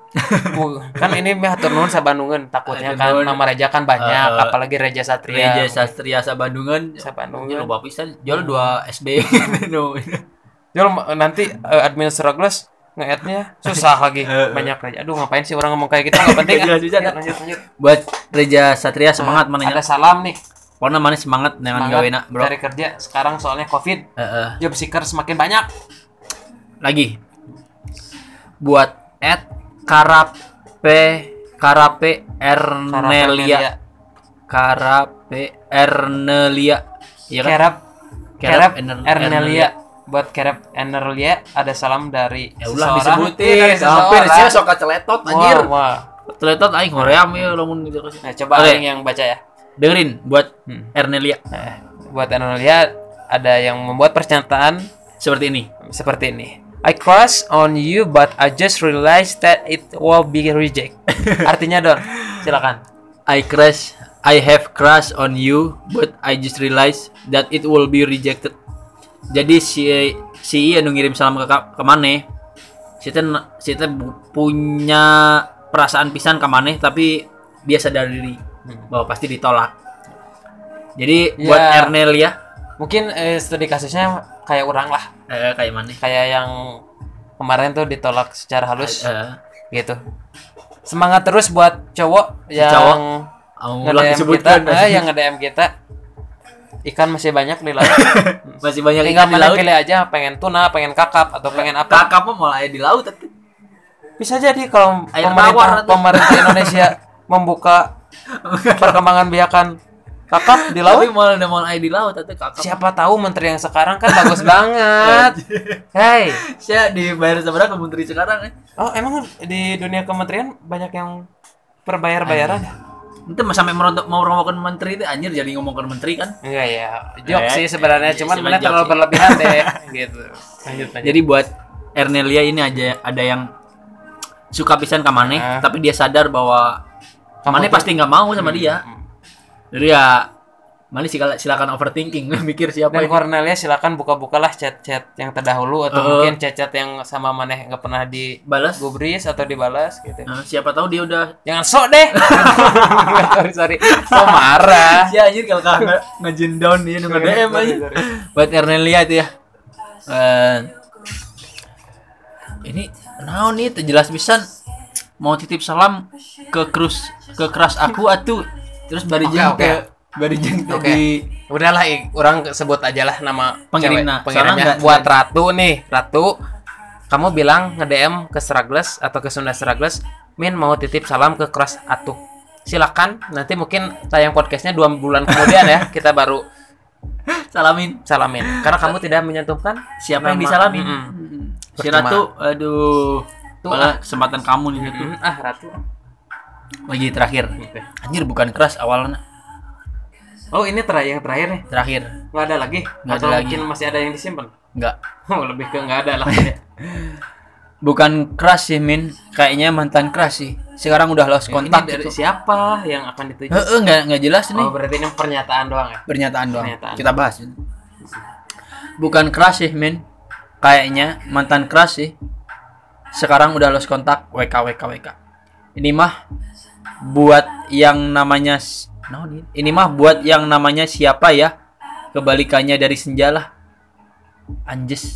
Speaker 2: Bu- kan ini mah hatur nuhun Sabandungan takutnya
Speaker 1: Hatur
Speaker 2: kan
Speaker 1: nuhun.
Speaker 2: nama Reja kan banyak
Speaker 1: Eh,
Speaker 2: apalagi Reja Satria. Hmm.
Speaker 1: Reja Satria Sabandungan. Sabandungan.
Speaker 2: Sabandungan.
Speaker 1: Lupa pisan. Jual dua SD. no.
Speaker 2: Jol ma- nanti eh, admin Struggles nge-add-nya susah
Speaker 1: Eh,
Speaker 2: lagi
Speaker 1: eh.
Speaker 2: banyak Reja. Aduh ngapain sih orang ngomong kayak gitu nggak penting.
Speaker 1: Nggak jelas bisa,
Speaker 2: ah.
Speaker 1: kan?
Speaker 2: lanjut lanjut.
Speaker 1: Buat Reja Satria semangat mana
Speaker 2: Ada salam nih.
Speaker 1: Pokoknya mana semangat dengan
Speaker 2: Semangat
Speaker 1: gawena bro.
Speaker 2: cari kerja sekarang soalnya covid
Speaker 1: Eh, eh.
Speaker 2: job seeker semakin banyak
Speaker 1: lagi buat at karape karape Ernelia karape Ernelia iya kan
Speaker 2: kerap
Speaker 1: Kerap
Speaker 2: kerap
Speaker 1: Ener- Ernelia.
Speaker 2: Ernelia buat kerap Ernelia ada salam dari
Speaker 1: ya ulah
Speaker 2: seseorang.
Speaker 1: disebutin
Speaker 2: Iya, dari
Speaker 1: hampir
Speaker 2: seseorang.
Speaker 1: sih sok celetot
Speaker 2: Wah,
Speaker 1: anjir
Speaker 2: wah.
Speaker 1: celetot aing hoream ya lamun gitu
Speaker 2: Nah, coba
Speaker 1: Oke.
Speaker 2: Aing yang baca ya
Speaker 1: dengerin buat
Speaker 2: Hmm.
Speaker 1: Ernelia
Speaker 2: Nah, buat Ernelia ada yang membuat pernyataan
Speaker 1: seperti ini
Speaker 2: seperti ini I crush on you but I just realized that it will be reject artinya Don silakan
Speaker 1: I crush I have crush on you but I just realized that it will be rejected. Jadi si si anu ngirim salam ke ka- ke mane. Si teh na- si teh bu- punya perasaan pisan ke mane tapi dia sadar diri bahwa pasti ditolak. Jadi buat
Speaker 2: Hmm. Ya.
Speaker 1: Ernel ya
Speaker 2: mungkin eh, studi kasusnya kayak orang lah
Speaker 1: eh, kayak mane.
Speaker 2: kayak yang kemarin tuh ditolak secara halus
Speaker 1: Eh,
Speaker 2: gitu semangat terus buat cowok yang
Speaker 1: cowok. Allah
Speaker 2: nge-DM kita
Speaker 1: disebutkan
Speaker 2: eh, yang nge-DM kita ikan masih banyak di laut
Speaker 1: masih banyak
Speaker 2: tinggal
Speaker 1: ikan di
Speaker 2: mana
Speaker 1: laut.
Speaker 2: pilih aja pengen tuna pengen kakap atau pengen apa
Speaker 1: Kakak mah mulai di laut tapi
Speaker 2: bisa jadi kalau
Speaker 1: Air
Speaker 2: pemerintah
Speaker 1: tawar atau-
Speaker 2: pemerintah Indonesia membuka perkembangan biakan kakap di
Speaker 1: Tapi
Speaker 2: laut
Speaker 1: mau mau ID laut atau kakak.
Speaker 2: siapa tahu menteri yang sekarang kan bagus banget hey
Speaker 1: Saya dibayar seberapa menteri sekarang eh?
Speaker 2: oh emang di dunia kementerian banyak yang
Speaker 1: Ah,
Speaker 2: perbayar
Speaker 1: iya.
Speaker 2: bayaran
Speaker 1: Nanti mau sampai merontok mau ngomongin menteri itu anjir jadi ngomongin menteri kan.
Speaker 2: enggak ya jok
Speaker 1: Eh,
Speaker 2: sih sebenarnya
Speaker 1: iya,
Speaker 2: cuman
Speaker 1: cuman
Speaker 2: benar
Speaker 1: jok
Speaker 2: terlalu
Speaker 1: sih.
Speaker 2: berlebihan deh gitu lanjut lanjut
Speaker 1: Jadi buat Ernelia ini aja ada yang suka pisan ke Mane,
Speaker 2: Ah.
Speaker 1: tapi dia sadar bahwa
Speaker 2: Kamu
Speaker 1: Mane
Speaker 2: tuh- Hmm,
Speaker 1: pasti nggak mau sama dia. Jadi ya Mane sila- silakan overthinking, mikir siapa
Speaker 2: dan
Speaker 1: ini.
Speaker 2: Cornelia silakan buka-bukalah chat-chat yang terdahulu atau
Speaker 1: Eh.
Speaker 2: mungkin chat-chat yang sama maneh nggak pernah
Speaker 1: balas.
Speaker 2: digubris atau dibalas gitu
Speaker 1: Nah, siapa tahu dia udah
Speaker 2: jangan sok deh sorry sorry so marah
Speaker 1: Ya anjir kalau kagak nge- ngejin down dia nunggu DM aja.
Speaker 2: Sorry, sorry.
Speaker 1: Buat Ernelia itu ya. Eh, ini naon nih teu jelas pisan mau titip salam ke krus ke keras aku atuh terus bari jeung
Speaker 2: Oke,
Speaker 1: ke bari jeung teh
Speaker 2: Oke.
Speaker 1: di
Speaker 2: udahlah Ik. orang sebut aja lah nama
Speaker 1: Pengirimna.
Speaker 2: cewek. pengirimnya
Speaker 1: Soalnya nggak-
Speaker 2: buat ratu nih ratu kamu bilang nge-DM ke Seragles atau ke Sunda Seragles Min mau titip salam ke Cross Atuh silakan nanti mungkin tayang podcastnya dua bulan kemudian ya kita baru
Speaker 1: salamin
Speaker 2: salamin karena kamu tidak menyentuhkan
Speaker 1: siapa yang
Speaker 2: Nama-
Speaker 1: disalamin
Speaker 2: Mm-mm.
Speaker 1: si Ratu aduh
Speaker 2: Tuh, ah.
Speaker 1: malah kesempatan kamu nih Ratu
Speaker 2: Hmm, ah ratu
Speaker 1: lagi terakhir anjir bukan keras awalnya
Speaker 2: oh ini terakhir yang terakhir nih
Speaker 1: terakhir
Speaker 2: nggak ada lagi
Speaker 1: Nggak ada
Speaker 2: atau
Speaker 1: lagi.
Speaker 2: mungkin masih ada yang disimpan
Speaker 1: enggak
Speaker 2: oh lebih ke nggak ada lah
Speaker 1: bukan keras sih Min kayaknya mantan keras sih sekarang udah lost kontak
Speaker 2: Ini dari
Speaker 1: gitu.
Speaker 2: siapa yang akan dituju
Speaker 1: Heeh, nggak nggak jelas nih
Speaker 2: oh berarti ini pernyataan doang ya
Speaker 1: pernyataan doang.
Speaker 2: Pernyataan.
Speaker 1: Kita bahas. ini. Bukan keras sih, Min. Kayaknya mantan keras sih. Sekarang udah lost kontak WK WK WK. Ini mah buat yang namanya s- naon ini? ini mah buat yang namanya siapa ya? Kebalikannya dari senja lah. Anjes.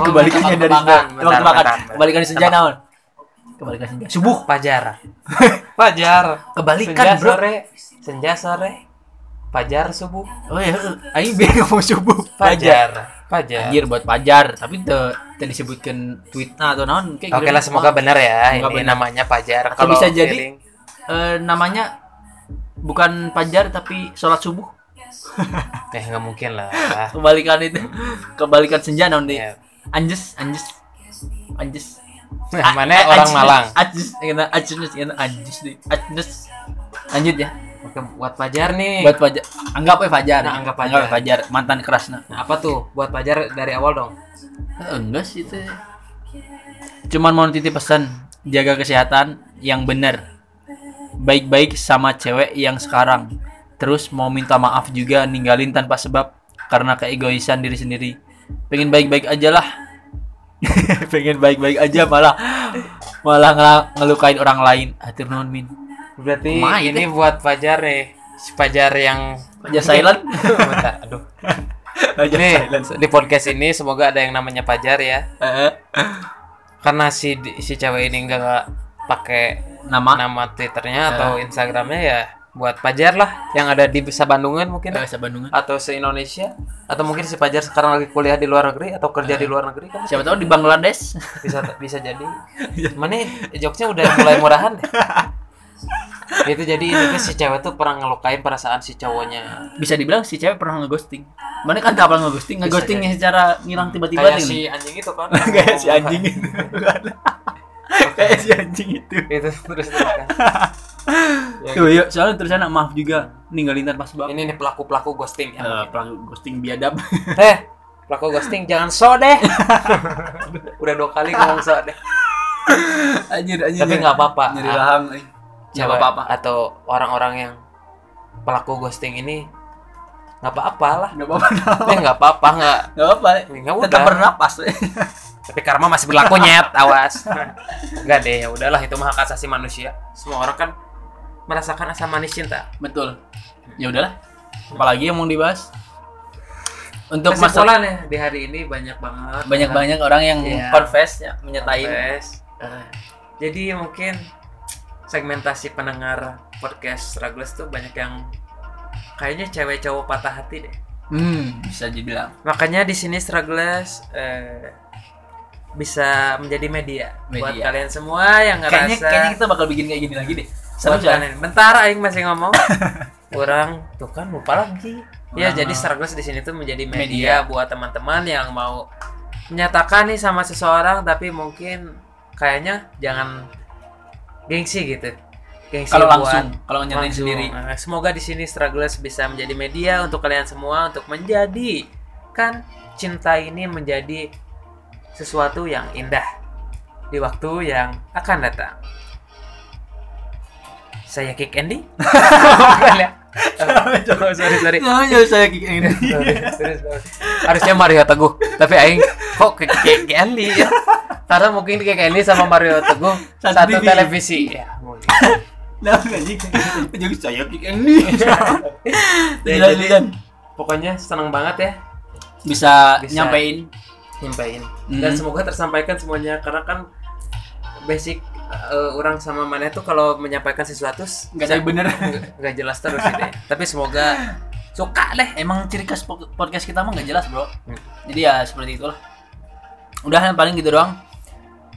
Speaker 2: Oh,
Speaker 1: Kebalikannya dari senja.
Speaker 2: tebak-tebakan. Bentar,
Speaker 1: Tebak-tebakan.
Speaker 2: bentar, bentar.
Speaker 1: Kebalikan dari senja naon? Kebalikan senja. Subuh.
Speaker 2: pajar pajar
Speaker 1: Kebalikan,
Speaker 2: senja
Speaker 1: Bro.
Speaker 2: sore senja sore pajar subuh
Speaker 1: Oh iya, heeh. aing bingung mau subuh.
Speaker 2: pajar Iya. pajar
Speaker 1: Iya. Anjir buat pajar, tapi teu teu disebutkan tweetnya atau naon kayak
Speaker 2: oke
Speaker 1: gitu.
Speaker 2: lah semoga benar ya
Speaker 1: Semoga
Speaker 2: ini
Speaker 1: benar.
Speaker 2: namanya pajar
Speaker 1: Atau bisa jadi-
Speaker 2: feeling.
Speaker 1: Eh, namanya bukan pajar tapi sholat subuh.
Speaker 2: eh nggak mungkin lah
Speaker 1: Kebalikan itu. Kebalikan senja naon deh.
Speaker 2: Ya.
Speaker 1: Anjes, anjes. Anjes.
Speaker 2: Nah,
Speaker 1: A-
Speaker 2: mana
Speaker 1: a-
Speaker 2: orang
Speaker 1: anjes,
Speaker 2: Malang
Speaker 1: Anjes, kena anjes, kena anjes deh. Anjes. Lanjut ya.
Speaker 2: Oke, buat pajar nih
Speaker 1: Buat pajar, anggap we pajar.
Speaker 2: Nah, anggap
Speaker 1: we
Speaker 2: pajar.
Speaker 1: pajar. mantan kerasna.
Speaker 2: Nah, apa tuh buat pajar dari awal dong
Speaker 1: Eh, enggak sih itu cuman mau titip pesan jaga kesehatan yang benar baik-baik sama cewek yang sekarang terus mau minta maaf juga ninggalin tanpa sebab karena keegoisan diri sendiri pengen baik-baik aja lah pengen baik-baik aja malah malah ngel- ngelukain orang lain hatur nuhun min
Speaker 2: Berarti
Speaker 1: Lumayan,
Speaker 2: ini buat pajar nih. Si pajar yang
Speaker 1: aja silent
Speaker 2: Bentar, aduh.
Speaker 1: aja
Speaker 2: Nih, di podcast ini semoga ada yang namanya pajar ya.
Speaker 1: Eh,
Speaker 2: Karena si si cewek ini enggak pakai
Speaker 1: nama
Speaker 2: nama Twitternya atau Instagramnya ya buat pajar lah yang ada di bisa Bandungan mungkin
Speaker 1: bahasa Bandungan
Speaker 2: atau se Indonesia atau mungkin si pajar sekarang lagi kuliah di luar negeri atau
Speaker 1: Ya.
Speaker 2: kerja di luar negeri kan
Speaker 1: siapa tahu di Bangladesh
Speaker 2: bisa bisa jadi
Speaker 1: Ya.
Speaker 2: mana jokesnya udah mulai murahan deh. itu jadi itu si cewek tuh pernah ngelukain perasaan si cowoknya
Speaker 1: bisa dibilang si cewek pernah ngeghosting. Mana kan tak pernah ngeghosting, ngeghostingnya secara ngilang tiba-tiba
Speaker 2: Hmm, kayak
Speaker 1: tuh.
Speaker 2: si anjing itu kan
Speaker 1: Kayak si anjing itu. Kayak si anjing itu.
Speaker 2: itu terus terus kan.
Speaker 1: Tuh, yuk, soalnya terus anak maaf juga ninggalin tanpa sebab.
Speaker 2: Ya, gitu. ini nih pelaku pelaku ghosting
Speaker 1: Eh,
Speaker 2: ya.
Speaker 1: pelaku ghosting biadab.
Speaker 2: eh pelaku ghosting jangan so deh udah dua kali ngomong so deh
Speaker 1: anjir, anjir.
Speaker 2: tapi nggak apa-apa
Speaker 1: Nyeri rahang. eh. Nggak
Speaker 2: Cewek
Speaker 1: apa-apa.
Speaker 2: atau orang-orang yang pelaku ghosting ini nggak apa-apa lah
Speaker 1: Nggak apa-apa.
Speaker 2: eh nggak apa-apa nggak
Speaker 1: Nggak apa-apa.
Speaker 2: nggak
Speaker 1: Tetap
Speaker 2: Ya udah
Speaker 1: bernapas. eh.
Speaker 2: tapi karma masih berlaku nyet awas nggak deh ya udahlah itu mah hak asasi manusia semua orang kan merasakan asam manis cinta
Speaker 1: Betul. Ya udahlah. Apalagi yang mau dibahas? Untuk masalah
Speaker 2: kesimpulan ya di hari ini banyak banget
Speaker 1: banyak-banyak orang yang
Speaker 2: Iya.
Speaker 1: confess ya, menyatain.
Speaker 2: Guys, eh, jadi mungkin segmentasi pendengar podcast Struggles tuh banyak yang kayaknya cewek cowok patah hati deh.
Speaker 1: Hmm, bisa dibilang
Speaker 2: Makanya di sini Struggles eh, bisa menjadi media, buat
Speaker 1: Media.
Speaker 2: kalian semua yang ngerasa
Speaker 1: Kayaknya kayaknya kita bakal bikin kayak gini lagi deh. Seru
Speaker 2: buat
Speaker 1: soalnya.
Speaker 2: kalian. Bentar aing masih ngomong. kurang tuh kan lupa lagi ya
Speaker 1: Nah.
Speaker 2: jadi struggles di sini tuh menjadi media,
Speaker 1: Media.
Speaker 2: buat teman-teman yang mau menyatakan nih sama seseorang tapi mungkin kayaknya jangan gengsi gitu gengsi
Speaker 1: Kalau
Speaker 2: buat
Speaker 1: langsung, kalau nyatain
Speaker 2: langsung.
Speaker 1: sendiri.
Speaker 2: Nah, semoga di sini struggles bisa menjadi media untuk kalian semua untuk menjadi kan cinta ini menjadi sesuatu yang indah di waktu yang akan datang saya kick Andy Bukan ya? Oh, sorry Iya. sorry
Speaker 1: Nah, ya saya kick ini.
Speaker 2: Serius, serius. Harusnya Mario Teguh, tapi aing kok ke ke- ke Andy ya. Karena mungkin kayak Andy sama Mario Teguh
Speaker 1: Satu
Speaker 2: satu
Speaker 1: TV.
Speaker 2: televisi. Ya, mungkin.
Speaker 1: Nah, anjing. Jadi saya kick ini.
Speaker 2: Ya,
Speaker 1: Jalan,
Speaker 2: jadi
Speaker 1: jalan.
Speaker 2: pokoknya senang banget ya
Speaker 1: Bisa,
Speaker 2: Bisa.
Speaker 1: nyampein
Speaker 2: nyampain. Dan
Speaker 1: Mm-mm.
Speaker 2: semoga tersampaikan semuanya karena kan basic eh, orang sama mana tuh kalau menyampaikan sesuatu s-
Speaker 1: nggak saya bener.
Speaker 2: nggak- nggak jelas terus gitu ya. Tapi semoga
Speaker 1: Suka deh, emang ciri khas po- podcast kita mah nggak jelas bro.
Speaker 2: Hmm.
Speaker 1: Jadi ya seperti itulah. Udah yang paling gitu doang.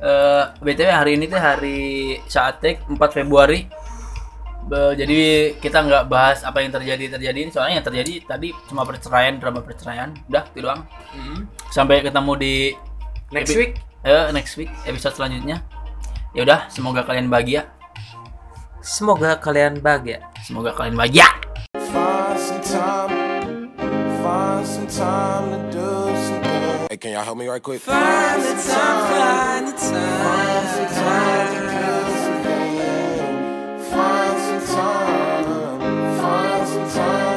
Speaker 1: Eh, BTW hari ini tuh hari Saatek 4 Februari. Be- jadi kita nggak bahas apa yang terjadi terjadi soalnya yang terjadi tadi cuma perceraian drama perceraian udah itu doang
Speaker 2: Mm-hmm.
Speaker 1: sampai ketemu di
Speaker 2: next week
Speaker 1: eh, next week episode selanjutnya ya udah semoga kalian bahagia
Speaker 2: semoga kalian bahagia.
Speaker 1: semoga kalian bahagia
Speaker 3: Find some time. Find some time to do some good. Hey, can y'all help me right quick? Find the time. Find the time. Find some time to do some good. Find some time. Find some time.